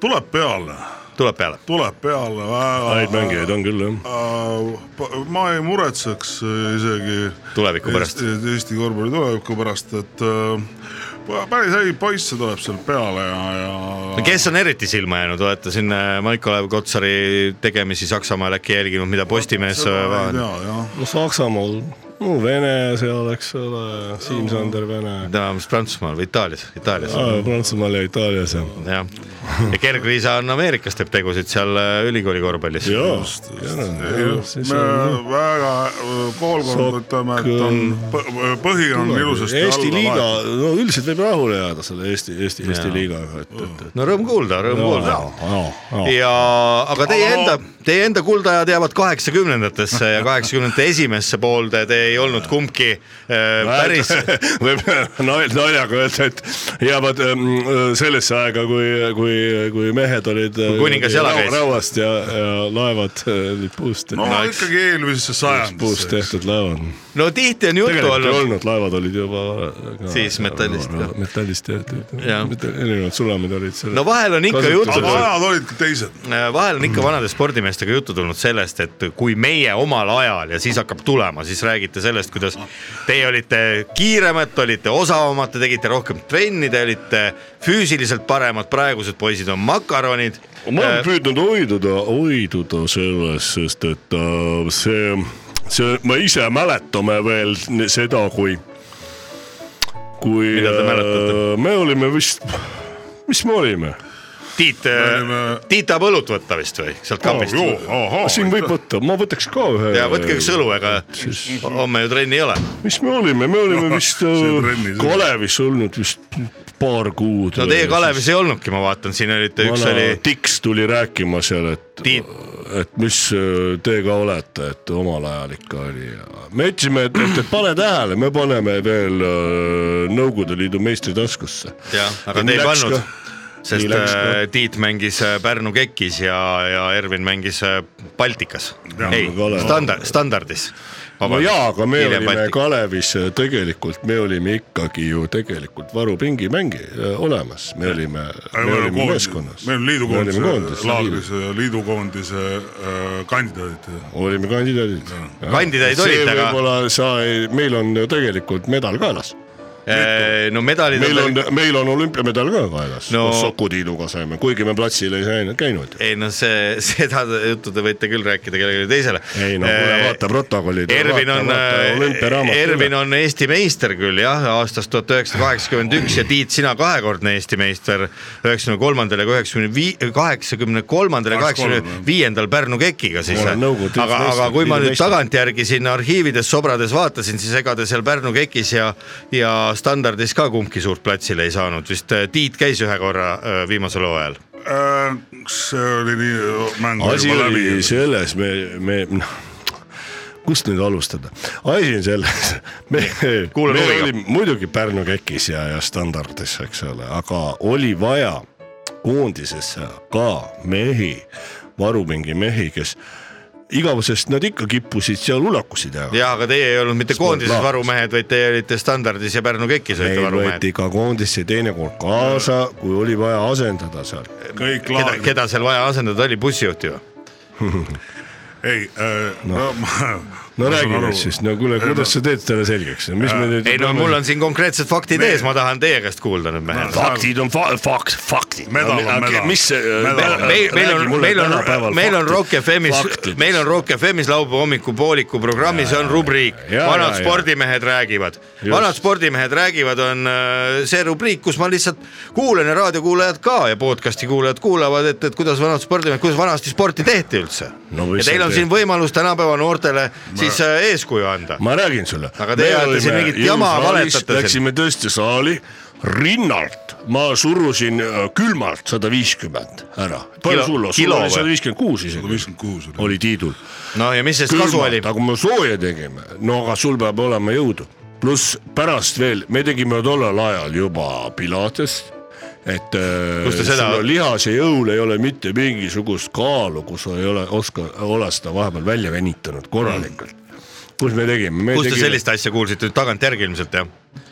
tuleb peale , tuleb peale . tuleb peale väga . häid mängijaid on küll jah . ma ei muretseks äh, isegi . Tuleviku pärast. Eesti, Eesti korvpalli tuleviku pärast , et äh, päris häid poisse tuleb seal peale ja , ja . kes on eriti silma jäänud , olete siin äh, Maiko-Lev Kotsari tegemisi Saksamaal äkki jälginud , mida Postimees äh, vahendab ? jah , no Saksamaal , no Vene seal , eks ole , Siim-Sander Vene . ta on vist Prantsusmaal või Itaalias , Itaalias Prantsusmaal ja Itaalias jah . jah , ja Gergriisa on Ameerikas , teeb tegusid seal äh, ülikooli korvpallis . me noh? väga äh, poolkond Sokk, ütleme , et on põ- põhi on ilusasti Eesti liiga alla , no üldiselt võib rahule jääda selle Eesti , Eesti , Eesti liigaga , et , et , et . no rõõm kuulda , rõõm kuulda . kuulda . ja , aga teie enda , teie enda kuldajad jäävad kaheksakümnendatesse ja kaheksakümnendate esimesse poolde , te ei olnud kumbki äh, päris , võib nal- naljaga öelda , et jäävad ähm, sellesse aega , kui , kui , kui mehed olid . kuningas jala käis. rauast ja , ja laevad äh, olid puust . no ikkagi eelmisesse puust sajandisse . tehtud laevad . no tihti on juttu tegelikult ei olnud , olnud , laevad olid juba . Siis metallist, jah. metallist tehtud , Jah. erinevad sulamid olid seal no vahel on ikka juttu aga Kasutusel. tulnud , ajad olidki teised , Äh, vahel on ikka vanade spordimeestega juttu tulnud sellest , et kui meie omal ajal ja siis hakkab tulema , siis räägite sellest , kuidas teie olite kiiremad , olite osavamad , te tegite rohkem trenni , te olite füüsiliselt paremad , praegused poisid on makaronid . ma Äh, olen püüdnud hoiduda , hoiduda sellest , sest et äh, see , see , me ise mäletame veel n- seda , kui , kui Mida te äh, mäletate? me olime vist , mis me olime ? Tiit , olime- Tiit tahab õlut võtta vist või sealt kapist ? siin võib võtta , ma võtaks ka ühe . ja võtke üks õlu , ega homme ju trenni ei ole . mis me olime , me olime vist See äh, trennis oli. Kalevis olnud vist paar kuud . no teie Kalevis ei olnudki , ma vaatan , siin olite , üks oli Tiks tuli rääkima seal , et Tiit , et mis teiega olete , et omal ajal ikka oli ja me ütlesime , et , et , et pane tähele , me paneme veel öö, Nõukogude Liidu meistri taskusse . jah , aga te ei pannud , sest Nii läks ka. äh, Tiit mängis äh, Pärnu kekis ja , ja Ervin mängis äh, Baltikas . ei aga Kalev- , standard , standardis . no jaa , aga me olime Baltik. . Kalevis äh, tegelikult , me olime ikkagi ju tegelikult varupingi mängi äh, olemas , me olime , e me olime meeskonnas . meil on liidukoondise laagris laagris . ja liidukoondise äh, kandidaadid olime kandidaadid . Kandidaadid olid, aga- võib-olla sa ei , meil on ju tegelikult medal kaelas Äh, no medalid meil on , meil on olümpiamedal ka kaelas No- no. , Sokutiiduga saime , kuigi me platsil ei sain- käinud . ei no see , seda juttu te võite küll rääkida kellelegi teisele . ei no kuule , vaata protokollid . Ervin on , Ervin on Eesti meister küll jah , aastast tuhat üheksasada kaheksakümmend üks ja Tiit , sina kahekordne Eesti meister üheksakümne kolmandal ja üheksakümne viie , kaheksakümne kolmandal ja kaheksakümne viiendal Pärnu kekiga siis . Ma olen Nõukogude aga , meister, aga kui ma nüüd liidumeister. tagantjärgi siin arhiivides sobrades vaatasin , siis ega te seal Pärnu kekis ja , ja standardis ka kumbki suurt platsile ei saanud , vist äh, Tiit käis ühe korra äh, viimasel hooajal . äh, . see oli nii mäng . asi oli selles , me , me , noh , kust nüüd alustada , asi on selles , me , kuulan me huviga. olime muidugi Pärnu kekis ja , ja standardis , eks ole , aga oli vaja koondisesse ka mehi , varupingi mehi , kes igavesest nad ikka kippusid seal ulakusi teha . jah , aga teie ei olnud mitte koondises Sportlaagris. varumehed , vaid teie olite standardis ja Pärnu kekis olite meil varumehed võeti . ka koondisse teinekord kaasa , kui oli vaja asendada seal . kõik keda , laagrid , keda seal vaja asendada oli , bussijuht ju . ei äh, , no, no ma, no räägi nüüd siis , no kuule , kuidas sa teed selle selgeks , mis me nüüd . Äh, ei no mul on siin konkreetsed faktid Me... ees , ma tahan teie käest kuulda nüüd mehed . faktid on fa- , fakt , faktid . Medal on medal. mis äh, see Medal on meil , meil on , meil on , meil on Rock FM-is , meil on Rock FM-is laupäeva hommikupooliku programmis on rubriik ja, Vanad ja, ja. spordimehed räägivad . Just. vanad spordimehed räägivad on äh, see rubriik , kus ma lihtsalt kuulan ja raadiokuulajad ka ja podcast'i kuulajad kuulavad , et , et kuidas vanad spordimehed , kuidas vanasti sporti tehti üldse No ja mis teil seal on tehti? siin võimalus tänapäeva noortele siis äh, eeskuju anda . ma räägin sulle . Aga teie ajate siin mingit jama, valetate siin. Läksime tõesti saali , rinnalt ma surusin äh, külmalt sada viiskümmend ära . Kilo- palju sul on ? sul kilo oli või? sada viiskümmend kuus isegi . 56 oli. oli Tiidul . no ja mis sellest kasu oli nagu külmalt ,? aga kui me sooja tegime , no aga sul peab olema jõudu . pluss pärast veel , me tegime tollel ajal juba pilatest , et Kus te seda- sul lihas ja jõul ei ole mitte mingisugust kaalu , kus sa ei ole , oska , ole seda vahepeal välja venitanud korralikult . kus me tegime ? kust te sellist asja kuulsite nüüd tagantjärgi ilmselt jah ?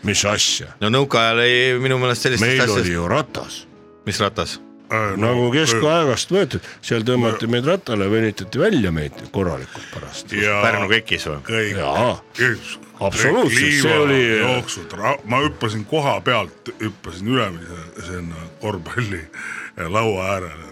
mis asja ? no nõukaajal ei , minu meelest sellist meil asja oli , ju ratas mis ratas ? Äh, nagu keskaegast võetud , seal tõmmati meid rattale , venitati välja meid korralikult pärast . Pärnu kekis või ? kõik jaa , Üks- Absoluutselt, liiva- see oli- jooksud , ma hüppasin koha pealt , hüppasin ülemise sinna korvpalli laua äärele .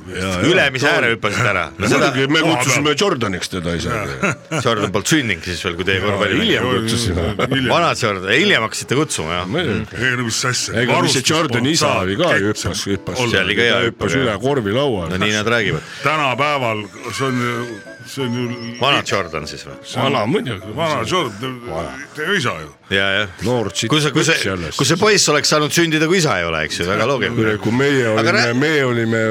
ülemise ääre hüppasid ära . no seda , muidugi me koha kutsusime Jordaniks teda isegi . Jordan polnud sündinud siis veel , kui teie korvpalli hiljem kutsusime . vanad Jordan , hiljem hakkasite kutsuma jah ? ei no mis asja . ega mis see Jordani isa oli ka , hüppas , hüppas , See oli ka hea hüppas hüppaja. üle korvilaua no . nii nad räägivad . tänapäeval , see on ju , see on ju . vanad Jordan siis või ? vana muidugi , vana Jordan , teie isa ju . ja , jah . noor tšikk . kui see , kui see , kui see poiss oleks saanud sündida , kui isa ei ole , eks ju , väga loogiline . kui meie olime rää- , meie olime ,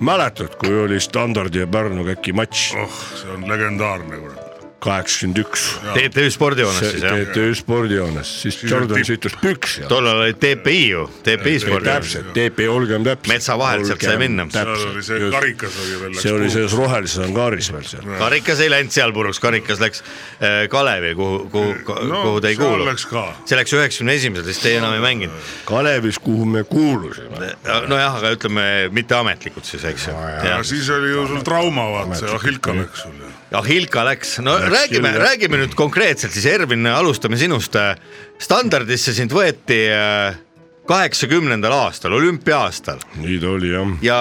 mäletad , kui oli Standardi ja Pärnu käki matš oh , see on legendaarne kurat . kaheksakümmend üks . TTÜ spordihoones siis jah ? TTÜ spordijoones , siis Jordan tipp. sõitus püksi . tollal oli TPI ju , TPI spordihoones . täpselt , TP , olgem täpsed . Metsa vahelt sealt sai minna. seal oli see karikas oli veel . see oli . selles rohelises angaaris veel seal . karikas ei läinud seal puruks , karikas läks äh, Kalevi , kuhu , kuhu , kuhu te ei kuulu . läks ka . see läks üheksakümne esimesel , siis teie enam ei mänginud . Kalevis , kuhu me kuulusime . nojah , aga ütleme mitteametlikult siis , eks aga ju . siis oli ju sul trauma , vaata see Ahilka läks sul ju . Ahilka läks , no räägime , küll, jah. räägime nüüd konkreetselt siis , Ervin , alustame sinust . standardisse sind võeti äh, kaheksakümnendal aastal , olümpia-aastal nii ta oli jah . ja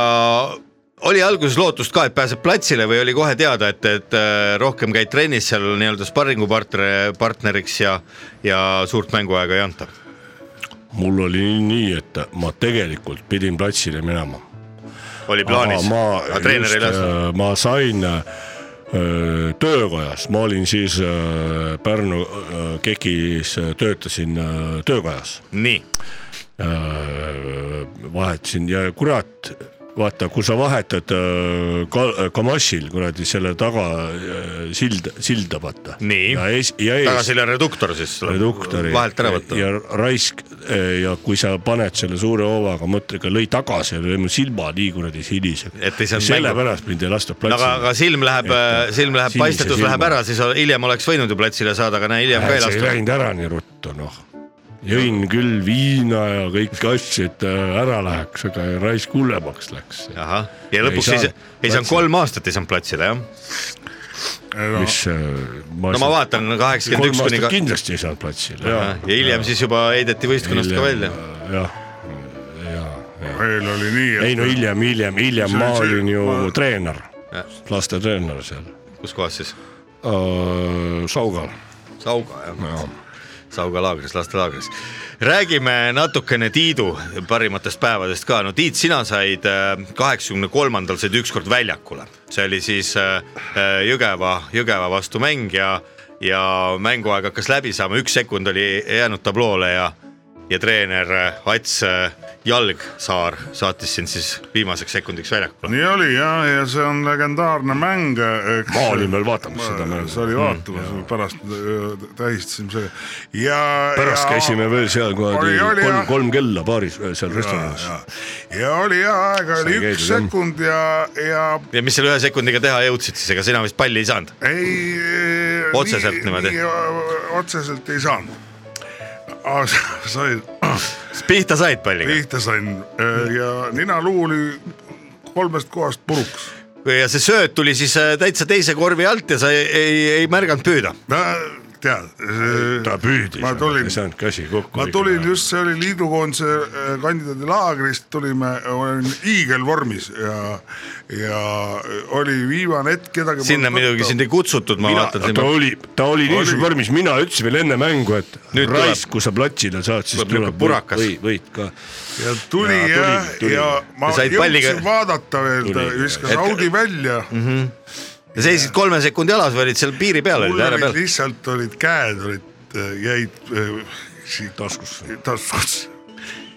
oli alguses lootust ka , et pääseb platsile või oli kohe teada , et , et äh, rohkem käid trennis seal nii-öelda sparringupartner , partneriks ja , ja suurt mänguaega ei anta . mul oli nii- nii , et ma tegelikult pidin platsile minema . oli plaanis , ma aga treener ei just, lasknud . äh, ma sain äh, töökojas , ma olin siis äh, Pärnu äh, KEK-is äh, töötasin äh, töökojas . nii , vahetasin ja kurat , vaata , kui sa vahetad äh, ka- , Kamassil kuradi selle taga äh, sild , silda vaata . Nii. ja ees , ja ees tagasi oli reduktor siis . reduktori vahelt ära võtta . ja raisk e, ja kui sa paned selle suure hoovaga mõttega lõi tagasi , lõi mu silma nii kuradi siniseks . Et ei saanud sellepärast mind ei lastud no aga , aga platsile . silm läheb äh, Et- , silm läheb , sinise paistetus silma. läheb ära , siis o- hiljem oleks võinud ju platsile saada , aga näe , hiljem ka ei see ei lastud . läinud ära nii ruttu , noh . jõin küll viina ja kõiki asju , et äh, ära läheks , aga raisk hullemaks läks ahah , ja lõpuks Ei ei saanud , ei saanud saanud platsile. kolm aastat ei saanud platsile jah ? mis e, no ma vaatan kaheksakümmend kolm üks kuni aastat ka- kindlasti ei saanud platsile . ja hiljem siis juba heideti võistkonnast ka välja . jah , ja , ja . meil oli nii , et ei no hiljem , hiljem , hiljem See on ma see- olin ju ma- treener , lastetreener seal kus kohas siis ? uh, . Saugal . Sauga jah ? Sauga laagris , lastelaagris . räägime natukene Tiidu parimatest päevadest ka , no Tiit , sina said äh, kaheksakümne kolmandal said ükskord väljakule , see oli siis äh, äh, Jõgeva , Jõgeva vastu mäng ja , ja mänguaeg hakkas läbi saama , üks sekund oli jäänud tabloole ja , ja treener äh, Ats äh, Jalgsaar saatis sind siis viimaseks sekundiks väljakule . nii oli ja , ja see on legendaarne mäng . ma olin veel vaatamas seda see mängu . oli vaatamas mm, , pärast äh, tähistasime seda ja . pärast ja, käisime veel seal oli- kuradi oli kolm jah. , kolm kella baaris äh, seal ja, restoranis . ja. ja oli hea aeg , Sai oli üks käidud, jah. sekund ja , ja ja mis selle ühe sekundiga teha jõudsid siis , ega sina vist palli ei saanud ? ei . Otseselt niimoodi. otseselt ei saanud . aga sa- sain , pihta said palliga ? pihta sain äh, ja ninaluu oli kolmest kohast puruks . ja see sööt tuli siis äh, täitsa teise korvi alt ja sa ei, ei , ei märganud püüda . tead . ta püüdis , ma tulin ei saanud käsi kokku . ma tulin just , see oli liidukoondise äh, kandidaadilaagrist , tulime , olin hiigelvormis ja , ja oli viimane hetk , kedagi . sinna muidugi sind ei kutsutud , ma mina , vaatan ta sinna . oli , ta oli niisuguses vormis , mina ütlesin veel enne mängu , et Nüüd tuleb. raisk , kui sa platsile saad , siis Tuleb niisugune tuleb purakas. või , võid ka . ja tuli Jaa, ja , tuli, tuli. ja ma Ja said jõudsin palliga- vaadata veel , ta Tuli. Mhm. viskas Et- Audi välja mm , ja seisid kolme sekundi jalas või olid seal piiri peal , -hmm. olid mul ääre olid peal . lihtsalt olid käed olid , jäid äh, siit taskusse . taskusse ,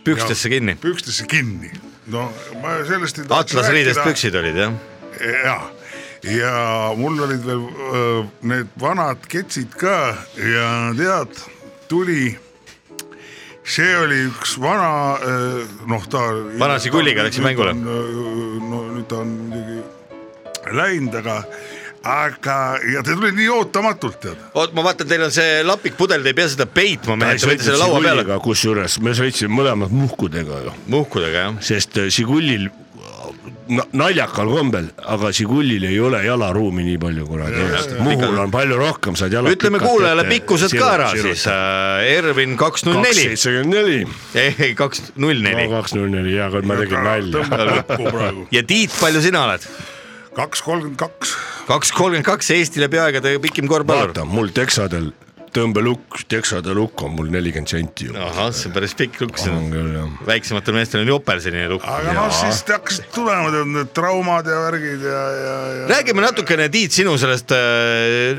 pükstesse kinni . pükstesse kinni . no ma sellest ei tahaks atlasriidest püksid olid jah ? ja , ja mul olid veel öö, need vanad ketsid ka ja tead , tuli see oli üks vana , noh ta . Vana Žiguliga läksid mängule. no nüüd ta on muidugi läinud , aga , aga ja ta tuli nii ootamatult tead . oot , ma vaatan , teil on see lapikpudel , te ei pea seda peitma , mehed , te võite selle laua peale . kusjuures me sõitsime mõlemad muhkudega ju , muhkudega jah , sest äh, Žigulil na- naljakal kombel , aga Žigulil ei ole jalaruumi nii palju kuradi , Muhul on palju rohkem , saad jala . ütleme kuulajale pikkused ka ära siis . Ervin kaks null äh, kaks neli , seitsekümmend neli , ei kaks null neli kaks null neli , hea kord , ma tegin nalja . tõmbab kokku praegu . ja Tiit , palju sina oled ? kaks kolmkümmend kaks . kaks kolmkümmend kaks Eestile peaaegade pikim korvpallur . vaata , mul teksadel tõmbelukk , teksade lukk on mul nelikümmend senti ju . ahah , see on päris pikk lukk , on küll jah . väiksematel meestel on jopel selline lukk . aga noh , siis ta hakkasid tulema tead need traumad ja värgid ja , ja , ja . räägime natukene , Tiit , sinu sellest ,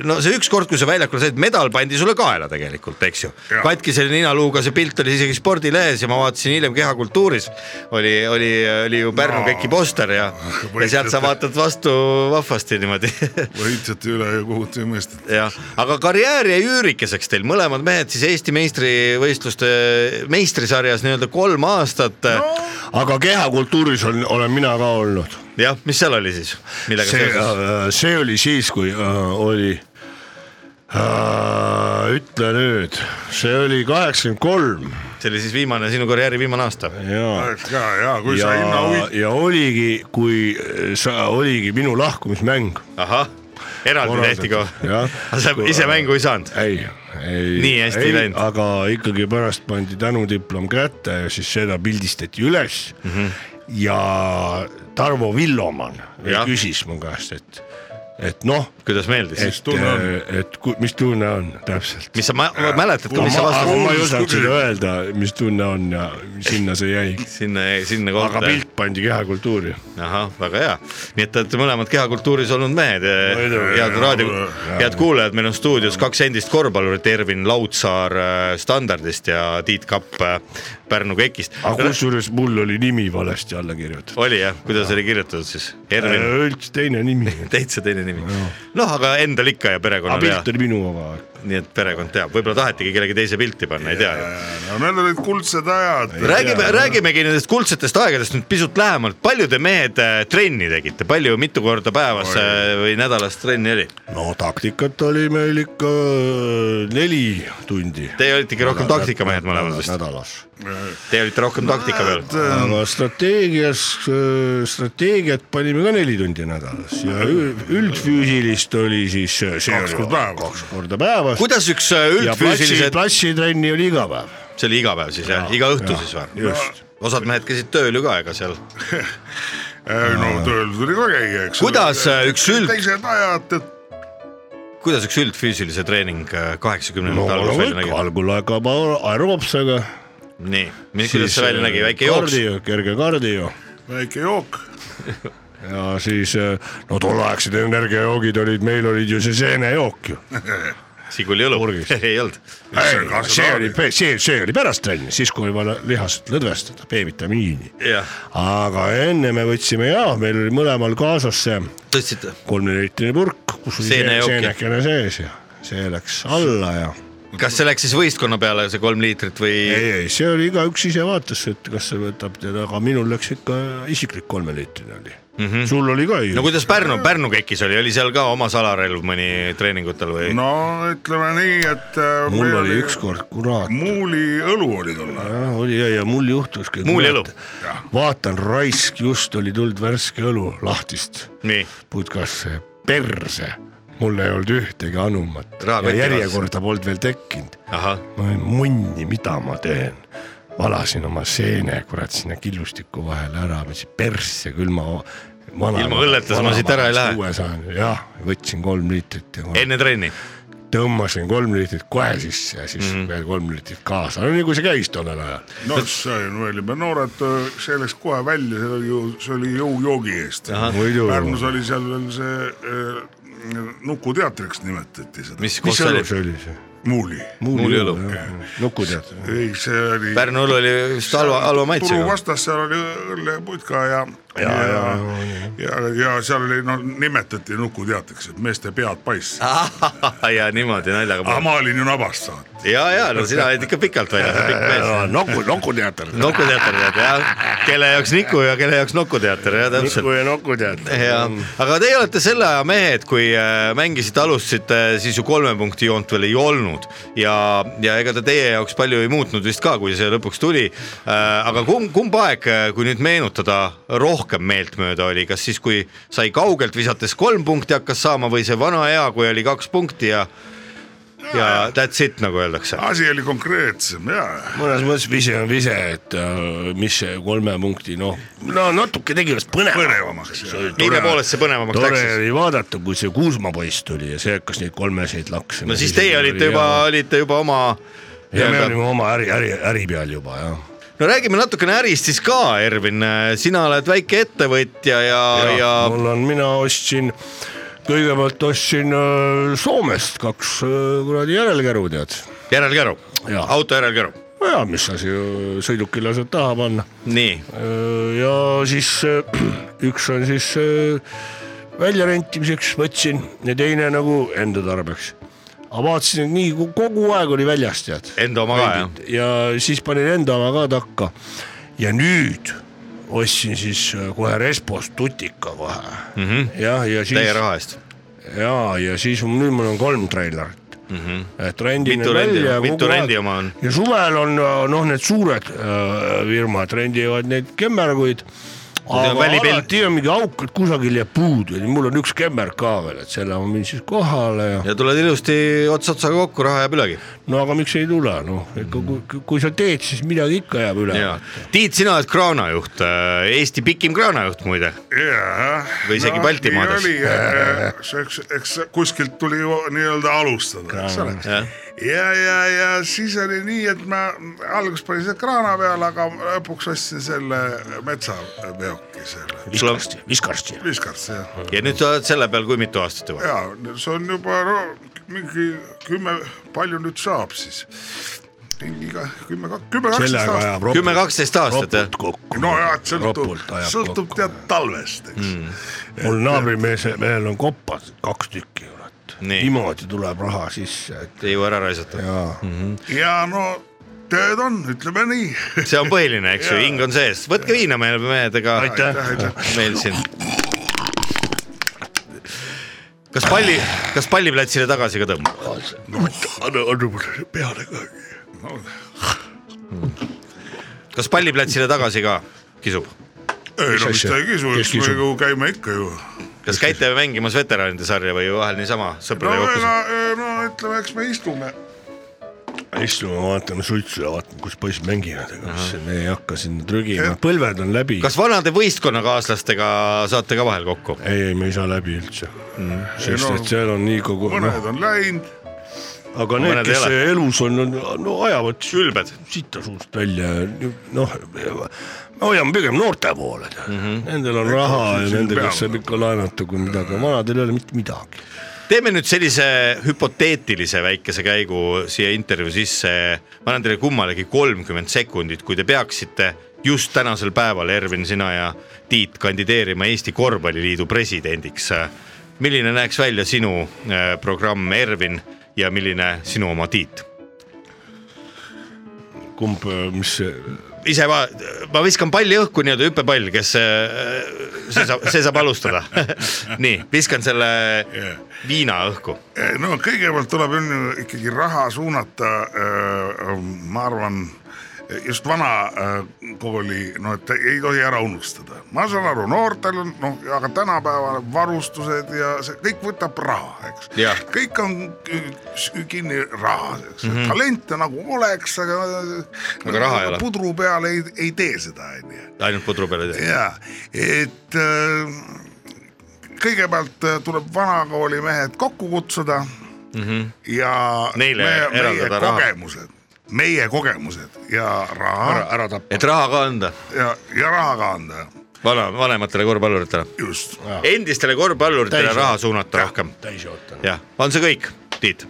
no see ükskord , kui sa väljakul said , medal pandi sulle kaela tegelikult , eks ju . Jah. katkise ninaluuga , see pilt oli isegi spordilehes ja ma vaatasin hiljem Kehakultuuris oli , oli , oli ju Pärnu No. no, keki poster ja , ja sealt sa Võitlete. vaatad vastu vahvasti niimoodi võitsete üle ja kohutame meest . jah , aga karjäär jäi üürikeseks teil , mõlemad mehed siis Eesti meistrivõistluste meistrisarjas nii-öelda kolm aastat no. . aga kehakultuuris on , olen mina ka olnud . jah , mis seal oli siis , millega see äh, seoses ?, see oli siis , kui äh, oli , ütle nüüd , see oli kaheksakümmend kolm see oli siis viimane , sinu karjääri viimane aasta . ja , ja , ja kui ja sa hinna huvi- , ja oligi , kui eh, sa , oligi minu lahkumismäng . ahah , eraldi Korraldatud, tehti ka . jah. aga sa ise mängu ei saanud ? ei , ei , Nii hästi ei läinud. aga ikkagi pärast pandi tänudiplom kätte ja siis seda pildistati üles mm . Mhm. -hmm. ja Tarvo Villoman Jah. küsis mu käest , et , et noh kuidas meeldis ? et , et ku, mis tunne on täpselt . mis sa mä- mäletad ka , mis sa aga ma ei vastasid ? osanud seda öelda , mis tunne on ja sinna see jäi . sinna , sinna aga kohta . pilt pandi kehakultuuri . ahah , väga hea . nii et te olete mõlemad kehakultuuris olnud mehed , Muidugi. head raadio , head kuulajad , meil on stuudios kaks endist korvpallurit , Ervin Laudsaar äh, Standardist ja Tiit Kapp äh, Pärnu KEK-ist . aga kusjuures mul oli nimi valesti alla kirjutatud . oli jah , kuidas oli kirjutatud siis ? Ervin , üldse teine nimi . täitsa teine nimi . noh , aga endal ikka ja Äh. aga perekonnal ja pilt , oli minu oma . nii et perekond teab , võib-olla tahetigi kellegi teise pilti panna , ei tea ju no need olid kuldsed ajad . räägime , räägimegi nendest kuldsetest aegadest nüüd pisut lähemalt , palju te mehed äh, trenni tegite , palju , mitu korda päevas äh, või nädalas trenni oli ? no taktikat oli meil ikka neli tundi . Te olite ikka rohkem taktikamehed mõlemad vist , nädalas . te olite rohkem taktika peal . aga strateegias , strateegiat panime ka neli tundi nädalas ja ü- üldfüüsilist oli siis kaks korda päevas. kaks korda päevas . kuidas üks äh, ja platsi , üldfüüsilise , platsitrenni oli iga päev . see oli iga päev siis jah , iga õhtu jaa, siis või just. ? osad mehed käisid tööl ju ka , ega seal . no tööl tuli ka käia , eks . Kuidas, äh, üks üld- teised ajad , et kuidas üks üldfüüsilise treening no kaheksakümnendate alguses välja kõik , nägi ? algul hakkab aer- aeroobsega . nii , kuidas see välja nägi , väike jooks ? kardio , kerge kardio väike jook . ja siis äh, no tolleaegsed energiajoogid olid , meil olid ju see seenejook ju . Siguli õlu Purgis. ei olnud . see oli , see , see oli pärast trenni , siis kui oli vaja lihast lõdvestada , B-vitamiini . jah , aga enne me võtsime ja meil oli mõlemal kaasas see tõstsite ? kolmeliitrine purk , kus oli see- Seenejook, jah. seenekene sees ja see läks alla ja kas see läks siis võistkonna peale , see kolm liitrit või ? ei , ei , see oli igaüks ise vaatas , et kas see võtab teda , aga minul läks ikka isiklik kolmeliitrine oli mm . -hmm. sul oli ka ju no ? kuidas Pärnu , Pärnu kekis oli , oli seal ka oma salarelv mõni treeningutel või no. ? no ütleme nii , et . mul oli ükskord , kurat , muuli õlu oli tol ajal . oli ja , ja mul juhtuski . Muuli õlu. . vaatan , raisk , just oli tulnud värske õlu lahtist nii , putkasse , perse . mul ei olnud ühtegi anumat Raha ja kotti järjekorda polnud veel tekkinud . ahah , ma olin munni , mida ma teen . valasin oma seene , kurat , sinna killustiku vahele ära , mis persse külma . Ilma õlleta sa ma siit ära ei lähe. uue saan , jah , võtsin kolm liitrit ja enne trenni , tõmbasin kolm liitrit kohe sisse ja siis mm -hmm. veel kolm liitrit kaasa , no nii kui see käis tollel ajal . no see oli , me olime noored , see läks kohe välja , see oli ju , see oli jõujoogi eest . muidu . Pärnus oli seal veel see eh, nukuteatriks nimetati seda . mis koht mis see oli õlu ? see oli see ? muuli . Muuli õlu. . nukuteater . ei , see oli . Pärnu õlu oli vist halva , halva turu maitsega . vastas seal oli õlleputka ja ja , ja , ja, ja seal oli , no nimetati nukuteateks , et meeste pead paiss . ja niimoodi naljaga aga . ma olin ju nabast saanud . ja , ja no sina olid ikka pikalt väljas , pikk mees . Noku , Nokuteater . nokuteater tead jah , kelle jaoks Niku ja kelle jaoks Nokuteater jah täpselt Niku . ja Nokuteater . Mm. ja , aga teie olete selle aja mehed , kui äh, mängisite , alustasite , siis ju kolme punkti joont veel ei olnud ja , ja ega ta teie jaoks palju ei muutnud vist ka , kui see lõpuks tuli . aga kumb , kumb aeg , kui nüüd meenutada , rohkem meeltmööda oli , kas siis , kui sai kaugelt visates kolm punkti hakkas saama või see vana hea , kui oli kaks punkti ja , ja that's it , nagu öeldakse . Ah, asi oli konkreetsem ja , mõnes mõttes vise on vise , et äh, mis see kolme punkti noh , no natuke tegi vast põnevamaks . mille poolest see põnevamaks tore läks siis ? oli vaadata , kui see Kuusma poiss tuli ja see hakkas neid kolmeseid laksima . no siis teie olite juba , olite juba oma . ja me olime oma äri , äri , äri peal juba jah . no räägime natukene ärist siis ka , Ervin , sina oled väikeettevõtja ja , ja, ja... Ah, mul on , mina ostsin , kõigepealt ostsin äh, Soomest kaks äh, kuradi järelkäru , tead . järelkäru , Jaa. auto järelkäru , no jaa , mis asi , sõidukile saad taha panna . nii , ja siis äh, üks on siis äh, väljarentimiseks võtsin ja teine nagu enda tarbeks . aga vaatasin , et nii ku- kogu aeg oli väljas , tead . enda oma ka jah , ja siis panin enda oma ka takka . ja nüüd ostsin siis äh, kohe Respost tutika kohe mm -hmm. jah , ja Mhm. täie siis raha eest . ja , ja siis on, nüüd mul on kolm treilerit mm . -hmm. et rendin Mhm. Mitu rendi- välja . mitu rendi oma on? ? ja suvel on noh , need suured äh, firmad rendivad neid kemmerguid . aga välipil- alati on mingi auk , et kusagil jääb puudu ja mul on üks kemmerg ka veel , et selle ma müün siis kohale ja ja tuled ilusti ots otsaga kokku , raha jääb ülegi . no aga miks ei tule , noh , kui, kui sa teed , siis midagi ikka jääb üle . Tiit , sina oled kraanajuht , Eesti pikim kraanajuht muide , ja . Või isegi Baltimaades. eks , eks kuskilt tuli ju nii-öelda alustada , eks ole . jah . ja , ja , ja siis oli nii , et ma alguses panin selle kraana peale , aga lõpuks ostsin selle metsaveoki , selle viskarsti , viskarsti . viskartsi jah . ja nüüd sa oled selle peal , kui mitu aastat juba ? ja see on juba no, mingi kümme , palju nüüd saab siis ? mingi ka- kümme , kümme , kaksteist sellega aastat . ajab ropult , kümme , kaksteist aastat jah ropult ? kokku . no ja , et sõltub ropult , ajab sõltub kokku . tead talvest , eks mm. . mul naabrimees , mehel on kopad kaks tükki , kurat . Nii. niimoodi tuleb raha sisse , et ei jõua ära raisata , jaa . ja no tööd on , ütleme nii . see on põhiline , eks ju , hing on sees , võtke viina meil mehed , ega meil siin . kas palli , kas palliplatsile tagasi ka tõmbab ? anna , anna mulle peale ka . kas palliplatsile tagasi ka kisub ? ei no mis asja? ta ei kisu , Kes eks me kisub? ju käime ikka ju . kas käite mängimas veteranide sarja või vahel niisama no sõpradega ega kokku ? no ütleme , eks me istume . istume , vaatame suitsu ja vaatame , kus poiss mängivad , ega mis see- me ei hakka sinna trügima , põlved on läbi . kas vanade võistkonnakaaslastega saate ka vahel kokku ? ei , ei me ei saa läbi üldse mm. , sest Ei, no- et seal on nii kogu , mõned noh , on läinud , aga need , mõned ei kes ole. elus on , no ajavad ülbed . sita suust välja , noh , me hoiame pigem noorte poole mm , -hmm. nendel on raha ja nende käest saab ikka laenata , kui midagi , vanadel ei ole mitte midagi . teeme nüüd sellise hüpoteetilise väikese käigu siia intervjuu sisse . ma annan teile kummalegi kolmkümmend sekundit , kui te peaksite just tänasel päeval , Ervin , sina ja Tiit kandideerima Eesti Korvpalliliidu presidendiks . milline näeks välja sinu äh, programm , Ervin , ja milline sinu oma , Tiit ? kumb , mis see , ise ma , ma viskan palli õhku , nii-öelda hüppepall , kes , see saab , see saab alustada . nii , viskan selle viina õhku . E, no kõigepealt tuleb on ju ikkagi raha suunata , ma arvan , just vana äh, kooli , no et ei tohi ära unustada . ma saan aru , noortel on noh , aga tänapäeval varustused ja see kõik võtab raha , eks Jah. . kõik on kü- s- kinni rahas , eks mm , -hmm. talente nagu oleks , aga . Mhm. Aga raha ei ole. pudru peal ei , ei tee seda , onju ainult pudru peale teed . ja et äh, kõigepealt äh, tuleb vanakooli mehed kokku kutsuda mm -hmm. ja Mhm. Neile meie eraldada raha. kogemused , meie kogemused ja ära , raha ära tappa . et raha ka anda ja, ja raha ka anda , vana , vanematele korvpalluritele . just . endistele korvpalluritele Täis- raha suunata rohkem . täis joota . jah , on E, see kõik , Tiit ?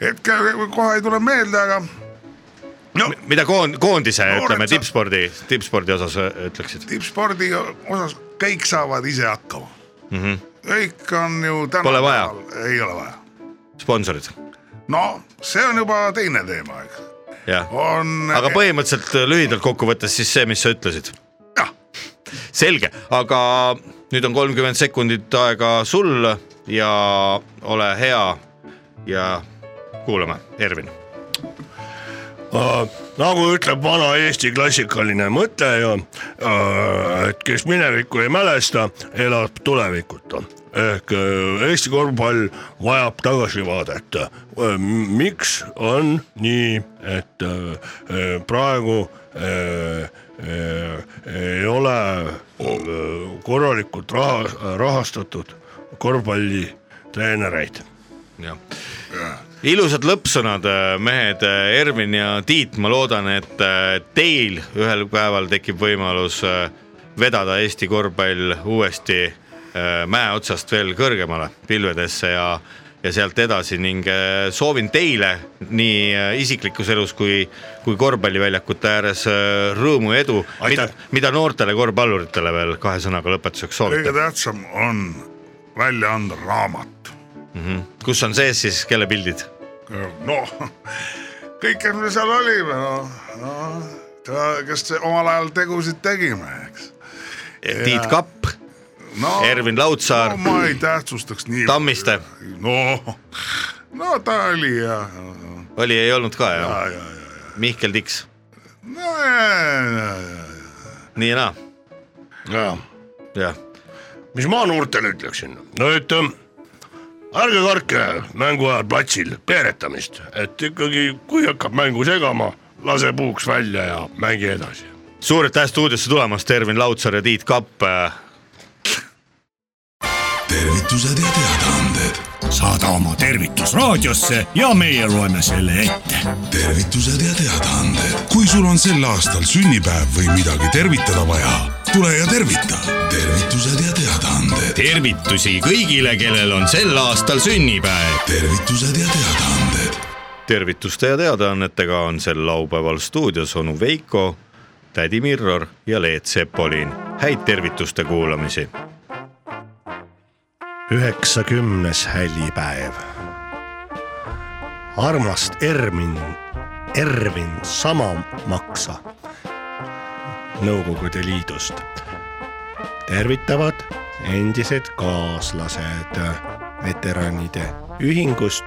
hetkel kohe ei tule meelde , aga No. mida koond- , koondise Noored ütleme sa- tippspordi , tippspordi osas äh, ütleksid ? tippspordi osas kõik saavad ise hakkama mm . -hmm. kõik on ju täna . Mhm. Pole vaja. . ei ole vaja . sponsorid , no see on juba teine teema , eks . jah . on . aga põhimõtteliselt äh, lühidalt kokkuvõttes siis see , mis sa ütlesid . jah , selge , aga nüüd on kolmkümmend sekundit aega sul ja ole hea ja kuulame , Ervin . nagu ütleb vana Eesti klassikaline mõte ju , et kes minevikku ei mälesta , elab tulevikuta . ehk äh, Eesti korvpall vajab tagasivaadet . miks on nii , et äh, äh, praegu äh, äh, ei ole äh, korralikult raha , rahastatud korvpallitreenereid jah . ilusad lõppsõnad , mehed äh, Ervin ja Tiit , ma loodan , et äh, teil ühel päeval tekib võimalus äh, vedada Eesti korvpall uuesti äh, mäe otsast veel kõrgemale pilvedesse ja , ja sealt edasi ning äh, soovin teile nii äh, isiklikus elus kui , kui korvpalliväljakute ääres äh, rõõmu ja edu , Aitäh! mida noortele korvpalluritele veel kahe sõnaga lõpetuseks kõige soovite , tähtsam on välja anda raamat . kus on sees siis , kelle pildid ? noh , kõik , kes me seal olime , noh no, , kes omal ajal tegusid tegime , eks . Tiit Kapp , no Ervin Laudsaar no, , ma ei tähtsustaks nii . Tammiste noh , no ta oli ja , oli , ei olnud ka jah ja , ja , ja , Mihkel Tiks , no ja , ja , ja , nii ja naa , jaa jah . mis ma noortele ütleksin , no et ähm, ärge kartke mängu ajal platsil peeretamist , et ikkagi , kui hakkab mängu segama , lase puuks välja ja mängi edasi . suur aitäh stuudiosse tulemast , Ervin Laudsaar ja Tiit Kapp . tervitused ja teadaanded , saada oma tervitus raadiosse ja meie loeme selle ette . tervitused ja teadaanded . kui sul on sel aastal sünnipäev või midagi tervitada vaja , tule ja tervita . tervitused ja teadaanded , tervitusi kõigile , kellel on sel aastal sünnipäev . tervitused ja teadaanded . tervituste ja teadaannetega on sel laupäeval stuudios onu Veiko , tädi Mirror ja Leet Sepolin . häid tervituste kuulamisi . üheksakümnes hällipäev . armast Ermin , Ervin sama maksa Nõukogude Liidust . tervitavad endised kaaslased veteranide ühingust .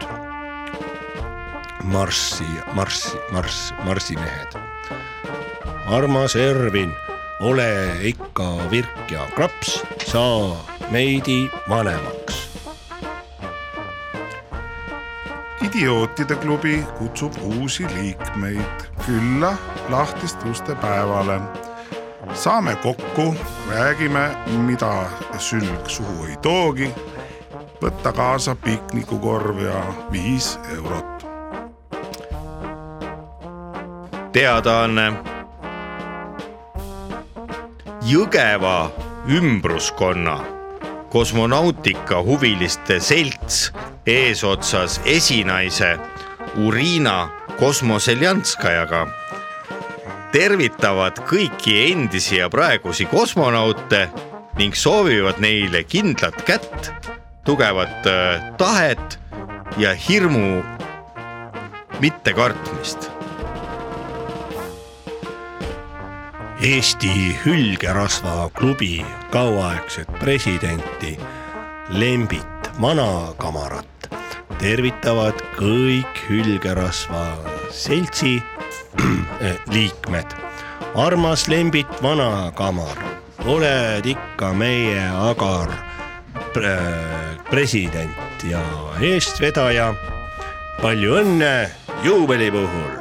marssi , marssi , marss , marsimehed . armas Ervin , ole ikka virk ja kraps , saa veidi vanemaks . idiootide klubi kutsub uusi liikmeid külla lahtiste uste päevale . saame kokku , räägime , mida sülg suhu ei toogi . võta kaasa piknikukorv ja viis eurot . teadaanne . Jõgeva ümbruskonna kosmonautikahuviliste selts eesotsas esinaise Urina Kosmoseljanskajaga tervitavad kõiki endisi ja praegusi kosmonaute ning soovivad neile kindlat kätt , tugevat äh, tahet ja hirmu mittekartmist Eesti Hülgerasvaklubi kauaaegset presidenti Lembit Vanakamarat tervitavad kõik Hülgerasva seltsi eh, liikmed . armas Lembit Vanakamar , oled ikka meie agar pre president ja eestvedaja . palju õnne juubeli puhul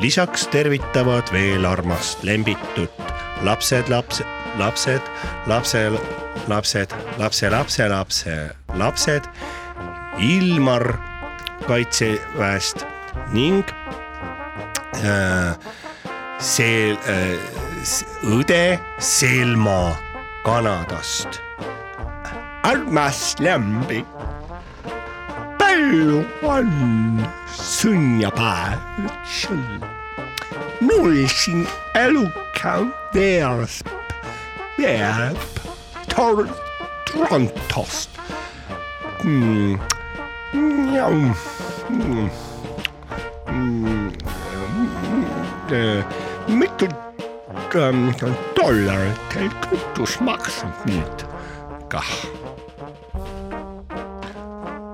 lisaks tervitavad veel armast lembitut lapsed , lapsed , lapsed , lapse , lapsed , lapselapselapse lapsed , Ilmar kaitseväest ning äh, see äh, s- õde Selma Kanadast . armas lembik , palju on sünnipäev sul nourishing elucal there's there tor Torontost. Mm. Mm. Mm. Mm. Äh, Mittel ähm, Dollar der Kryptosmax mit. Kah.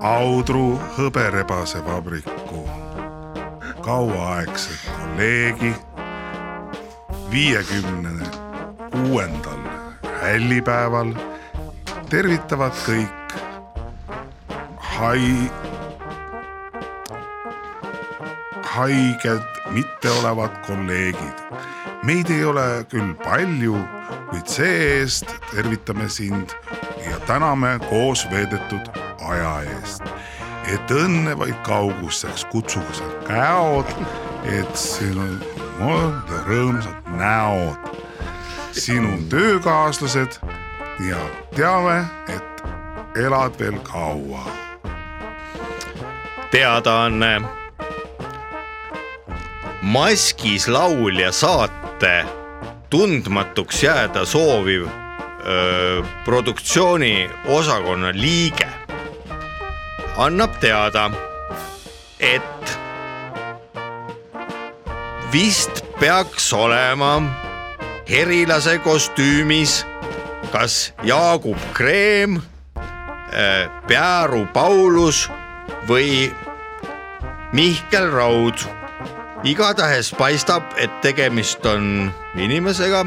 Audru hõberebasevabriku kauaaegse kolleegi viiekümne kuuendal hällipäeval tervitavad kõik hai- , haiged mitteolevad kolleegid . meid ei ole küll palju , kuid see-eest tervitame sind ja täname koos veedetud aja eest . et õnne vaid kauguseks kutsugu sa käod , et sinu moodi rõõmsad näod , sinu töökaaslased ja teame , et elad veel kaua . teadaanne . maskis laulja saate tundmatuks jääda sooviv öö, produktsiooni osakonna liige annab teada , et vist peaks olema herilase kostüümis kas Jaagup Kreem , Pearu Paulus või Mihkel Raud . igatahes paistab , et tegemist on inimesega ,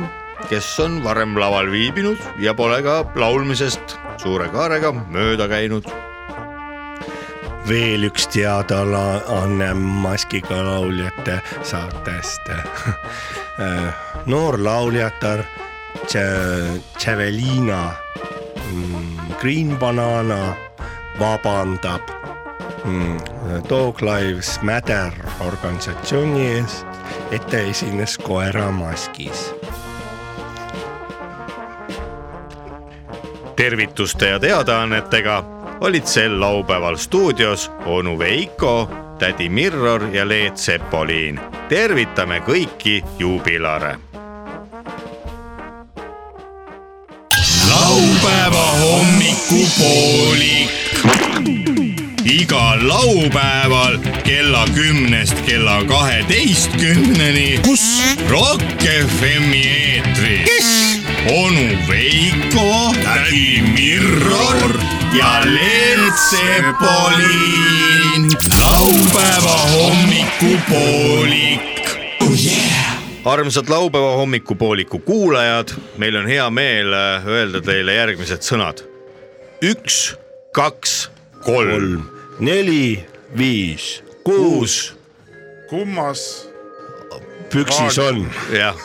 kes on varem laval viibinud ja pole ka laulmisest suure kaarega mööda käinud . veel üks teadaanne maskiga lauljate saatest Äh, noor lauljatar Tše- Tševelina mm, Green Banana vabandab mm, Dog Lives Matter organisatsiooni eest , et ta esines koera maskis . tervituste ja teadaannetega olid sel laupäeval stuudios onu Veiko , tädi Mirror ja Leet Sepoliin . tervitame kõiki juubilare laupäeva hommikupoolik . igal laupäeval kella kümnest kella kaheteistkümneni . kus ? Rock FM-i eetris . kes ? onu Veiko , tädi Mirror ja Leelt Sepolin . laupäeva hommikupoolik . armsad laupäeva hommikupooliku kuulajad , meil on hea meel äh, öelda teile järgmised sõnad . üks , kaks , kolm , kolm , neli , viis , kuus kuus , kummas püksis on , jah .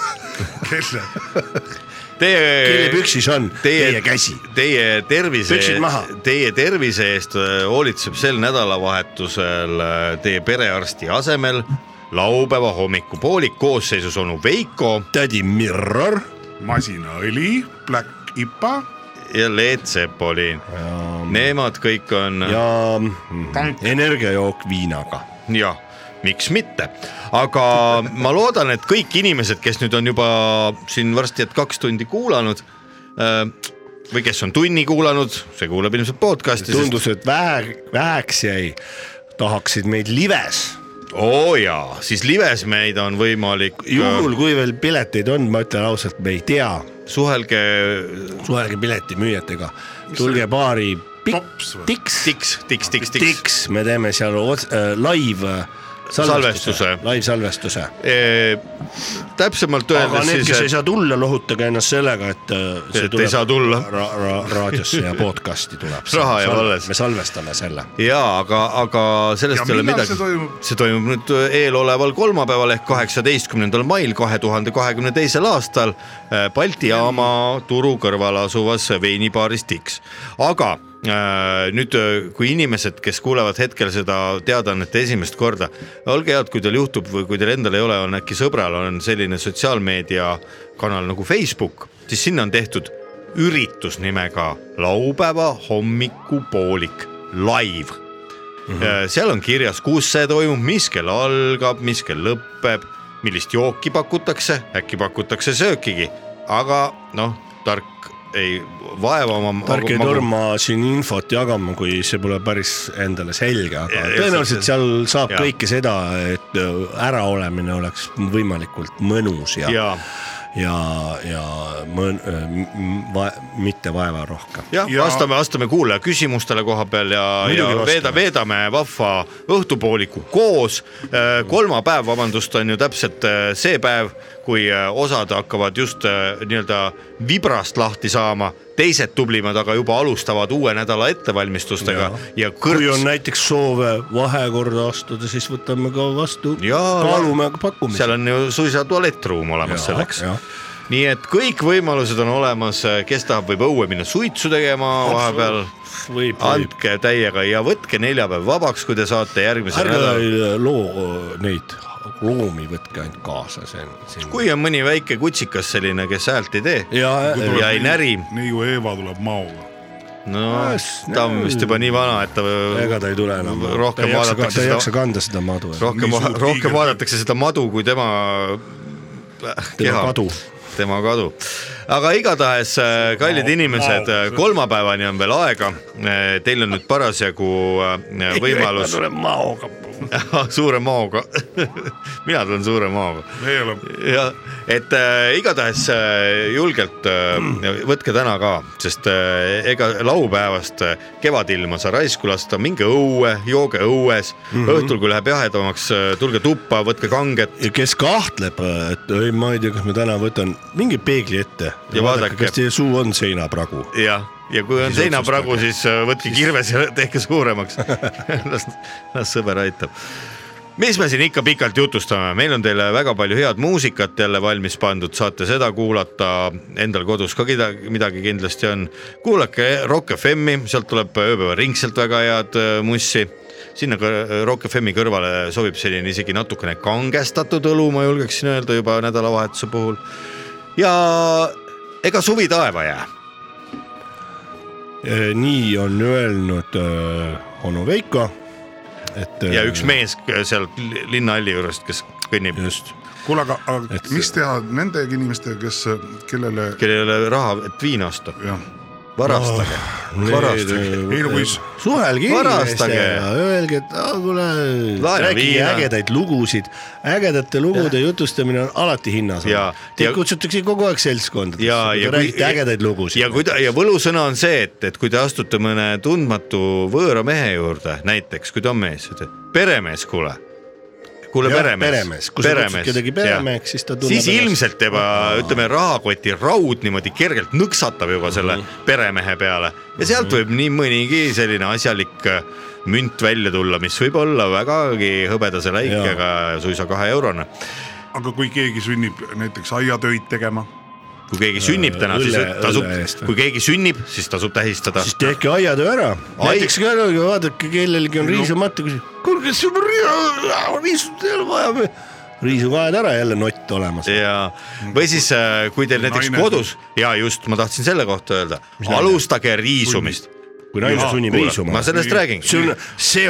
kelle ? kelle Teie , püksis on Teie- teie käsi ? teie tervise Püksid maha. , teie tervise eest äh, hoolitseb sel nädalavahetusel äh, teie perearsti asemel laupäeva hommikupoolik koosseisus onu Veiko tädi Mirror masinaõli , Black IPA , ja Leet Sepolin . Nemad kõik on ja mm, energiajook viinaga . jah , miks mitte , aga ma loodan , et kõik inimesed , kes nüüd on juba siin varsti , et kaks tundi kuulanud äh, või kes on tunni kuulanud , see kuulab ilmselt podcast'i . tundus , et vähe , väheks jäi , tahaksid meid lives , oo jaa , siis lives meid on võimalik . äh, juhul kui veel pileteid on , ma ütlen ausalt , me ei tea , suhelge suhelge piletimüüjatega , tulge baari tops või ? Tiks , tiks , tiks , tiks , tiks . Tiks , me teeme seal ots- äh, live äh, Salvestuse. Äh, salvestuse , live salvestuse . täpsemalt aga öeldes need , kes ei siis , saa tulla , lohutage ennast sellega , et äh, see et ei saa tulla ra ra raadiosse ja podcast'i tuleb . Raha jääb alles. me salvestame selle . ja aga , aga sellest Ja ei ole millal midagi see toimub? . see toimub nüüd äh, eeloleval kolmapäeval ehk kaheksateistkümnendal mail kahe tuhande kahekümne teisel aastal eh, Balti jaama turu kõrval asuvas veinibaaris Tix . aga eh, nüüd , kui inimesed , kes kuulevad hetkel seda teadaannet esimest korda , olge head , kui teil juhtub või kui teil endal ei ole , on äkki sõbral on selline sotsiaalmeedia kanal nagu Facebook , siis sinna on tehtud üritus nimega laupäeva hommikupoolik live Äh, mm . Mhm. -hmm. seal on kirjas , kus see toimub , mis kell algab , mis kell lõpeb , millist jooki pakutakse , äkki pakutakse söökigi , aga noh , tark ei vaeva oma . tark ei . torma siin infot jagama , kui see pole päris endale selge , aga Ja- ja- tõenäoliselt seal saab ja. kõike seda , et äh, äraolemine oleks võimalikult mõnus ja , ja , ja , ja, ja mõn, äh, m- m- va, mitte vaeva rohkem . jah ja... , Ja- vastame , vastame kuulaja küsimustele koha peal ja , Muidugi ja vastame. veeda , veedame vahva õhtupooliku koos . kolmapäev , vabandust , on ju täpselt äh, see päev , kui äh, osad hakkavad just äh, nii-öelda vibrast lahti saama , teised tublimad aga juba alustavad uue nädala ettevalmistustega ja, ja kui on kõrts näiteks soove vahekorda astuda , siis võtame ka vastu , Jaa. kaalume pakkumist . seal on ju suisa tualettruum olemas Jaa, selleks jah. . nii et kõik võimalused on olemas , kes tahab , võib õue minna suitsu tegema vahepeal , võib , võib . andke täiega ja võtke neljapäev vabaks , kui te saate järgmisel nädalal . ärge äh, loo neid loomi võtke ainult kaasa , see on , see on . kui on mõni väike kutsikas selline , kes häält ei tee ja , ja äh, ei näri , neiu Eeva tuleb maoga . no Yes, ta on vist juba nii vana , et ta ega ta ei tule enam . ta rohkem ei jaksa ka- ta vaadatakse ei jaksa seda , kanda seda madu . rohkem , rohkem vaadatakse seda madu kui tema tema keha kadu . tema kadu . aga igatahes , kallid inimesed , kolmapäevani on veel aega . Teil on nüüd parasjagu äh, võimalus maoga . suure maoga , mina tulen suure maoga meie oleme ja et äh, igatahes äh, julgelt äh, võtke täna ka , sest äh, ega laupäevast äh, kevadilma sa raisku lasta , minge õue , jooge õues Mhm. mm , -hmm. õhtul , kui läheb jahedamaks , tulge tuppa , võtke kanget , ja kes kahtleb , et ei , ma ei tea , kas ma täna võtan , minge peegli ette Ja vaadake. kas teie suu on seinapragu . jah , ja kui on Siis seinapragu , otsustage. siis äh, võtke kirves ja tehke suuremaks . las , las sõber aitab . mis me siin ikka pikalt jutustame , meil on teile väga palju head muusikat jälle valmis pandud , saate seda kuulata , endal kodus ka midagi , midagi kindlasti on . kuulake Rock FM-i , sealt tuleb ööpäevaringselt väga head äh, mussi sinna kõr- Rock FM-i kõrvale sobib selline isegi natukene kangestatud õlu , ma julgeksin öelda juba nädalavahetuse puhul . ja ega suvi taeva jää Äh, nii on öelnud öö, onu Veiko , et . äh, ja üks mees äh, seal linnahalli juurest , kes kõnnib , just , kuule , aga , aga Et- et... mis teha nende inimestega , kes , kellele kellel ei ole raha , et viina osta , jah , varastage oh, , varastage , ei no kui s- suhelge Varastage. inimestega , öelge , et "Ah, kuule , Laena rääkige viina. ägedaid lugusid , ägedate lugude jutustamine on alati hinnas . Ja- Teid ja- kutsutakse kogu aeg seltskondades , Ja- ja te kui- räägite ägedaid lugusid . ja kui ta ja võlusõna on see , et , et kui te astute mõne tundmatu võõra mehe juurde , näiteks kui ta on mees , ütleb peremees , kuule , kuule Jah, peremees . peremees. Kui sa kutsud kedagi peremeheks, siis ta tunneb siis ennast- ilmselt juba ütleme , rahakoti raud niimoodi kergelt nõksatab juba selle mm Mhm. -hmm. peremehe peale ja sealt võib nii mõnigi selline asjalik äh, münt välja tulla , mis võib olla vägagi hõbedase läikega , suisa kahe eurone . aga kui keegi sünnib näiteks aiatöid tegema , kui keegi sünnib täna , siis õlle- tasub õlle eest või? , kui keegi sünnib , siis tasub tähistada . siis tehke aiatöö ära , Ai- näiteks ka vaadake , kellelgi on riisumata , kuulge , sul on riisu , riisud ei ole vaja või riisu kaed ära , jälle nott olemas . ja , Mm. või siis , kui teil näiteks Naine- kodus ja just ma tahtsin selle kohta öelda , alustage riisumist . kui naine sunnib riisuma . ma sellest räägin . see on , see ,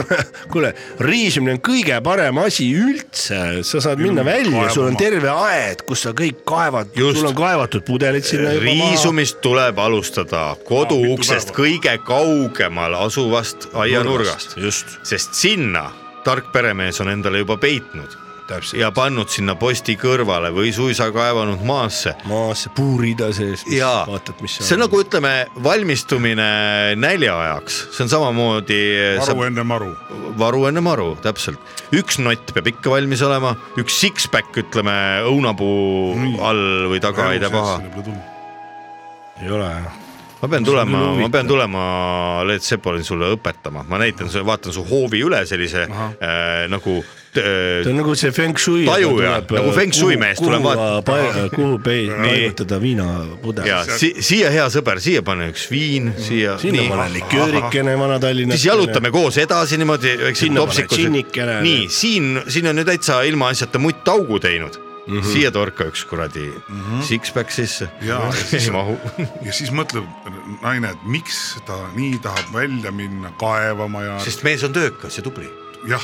kuule , riisumine on kõige parem asi üldse , sa saad minna välja , sul on terve aed , kus sa kõik kaevad , Just. sul on kaevatud pudelid sinna juba maha . riisumist tuleb alustada koduuksest kõige kaugemal asuvast aianurgast , just , sest sinna tark peremees on endale juba peitnud täpselt , ja pannud sinna posti kõrvale või suisa kaevanud maasse maasse puurida sees , jaa , vaatad , mis see on nagu ütleme , valmistumine näljaajaks , see on samamoodi . varu enne maru , varu enne maru , täpselt . üks nott peab ikka valmis olema , üks six-pack , ütleme õunapuu all või taga ei tee paha . ei ole jah . ma pean tulema , küll ma huvitav. pean tulema Leet Sepolin sulle õpetama , ma näitan sulle , vaatan su hoovi üle sellise äh, nagu ta äh, on nagu see feng shui . Tajuja, nagu feng shui mees tuleb vaat- vaata . kuhu pei- , paigutada viinapudel . ja si siia hea sõber , siia pane üks viin , siia . sinna panen liköörikene Vana-Tallinna . siis jalutame koos edasi niimoodi , väiksed Sinna paned topsikud . džinnikene. nii siin , siin on ju täitsa ilmaasjata muttaugu teinud mm . -hmm. siia torka üks kuradi mm -hmm. six-pack sisse . Mhm. Jaa, ei mahu . ja siis mõtleb naine , et miks ta nii tahab välja minna kaevama ja sest mees on töökas ja tubli . jah ,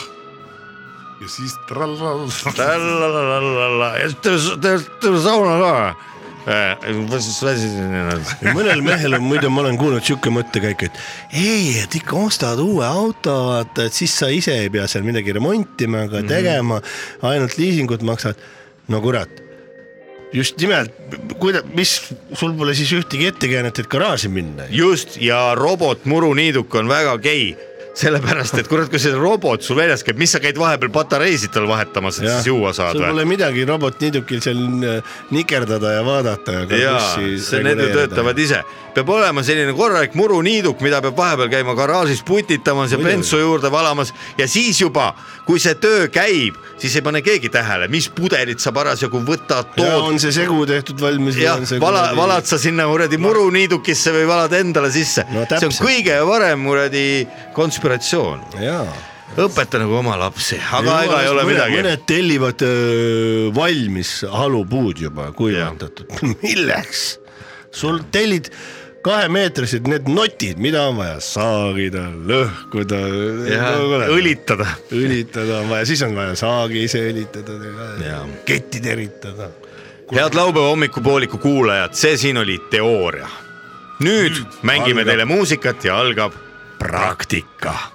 ja siis trallall . ja siis terve , terve , terve sauna ka . Äh, ma siis väsisin ennast . ja mõnel mehel on muide , ma olen kuulnud sihuke mõttekäik , et ei , et ikka ostad uue auto , vaata , et siis sa ise ei pea seal midagi remontima Mhm. ega tegema , ainult liisingut maksad . no kurat , just nimelt , kuida- , mis , sul pole siis ühtegi ettekäänet , et garaaži minna . just ja robot muruniiduk on väga gei , sellepärast et kurat , kui see robot sul väljas käib , mis sa käid vahepeal patareisid tal vahetamas , et siis juua saad sul või ? pole midagi robotniidukil seal äh, nikerdada ja vaadata . ja see , need ju töötavad ise , peab olema selline korralik muruniiduk , mida peab vahepeal käima garaažis putitamas ja Muidugi. bensu juurde valamas ja siis juba , kui see töö käib , siis ei pane keegi tähele , mis pudelit sa parasjagu võtad , ja tood on see segu tehtud valmis . jah , vala , valad sa sinna kuradi muruniidukisse või valad endale sisse No no, , see on täpselt. kõige parem kuradi konspiratsioon . jaa õpeta nagu oma lapsi , aga ega ei ole mõned, midagi . mõned tellivad öö, valmis halupuud juba kuivandatud , milleks ? sul tellid kahemeetrised need notid , mida on vaja saagida , lõhkuda . õlitada . õlitada on vaja , siis on vaja saagi ise õlitada , Jaa. ketti teritada . head laupäeva hommikupooliku kuulajad , see siin oli teooria . nüüd mängime teile muusikat ja algab praktika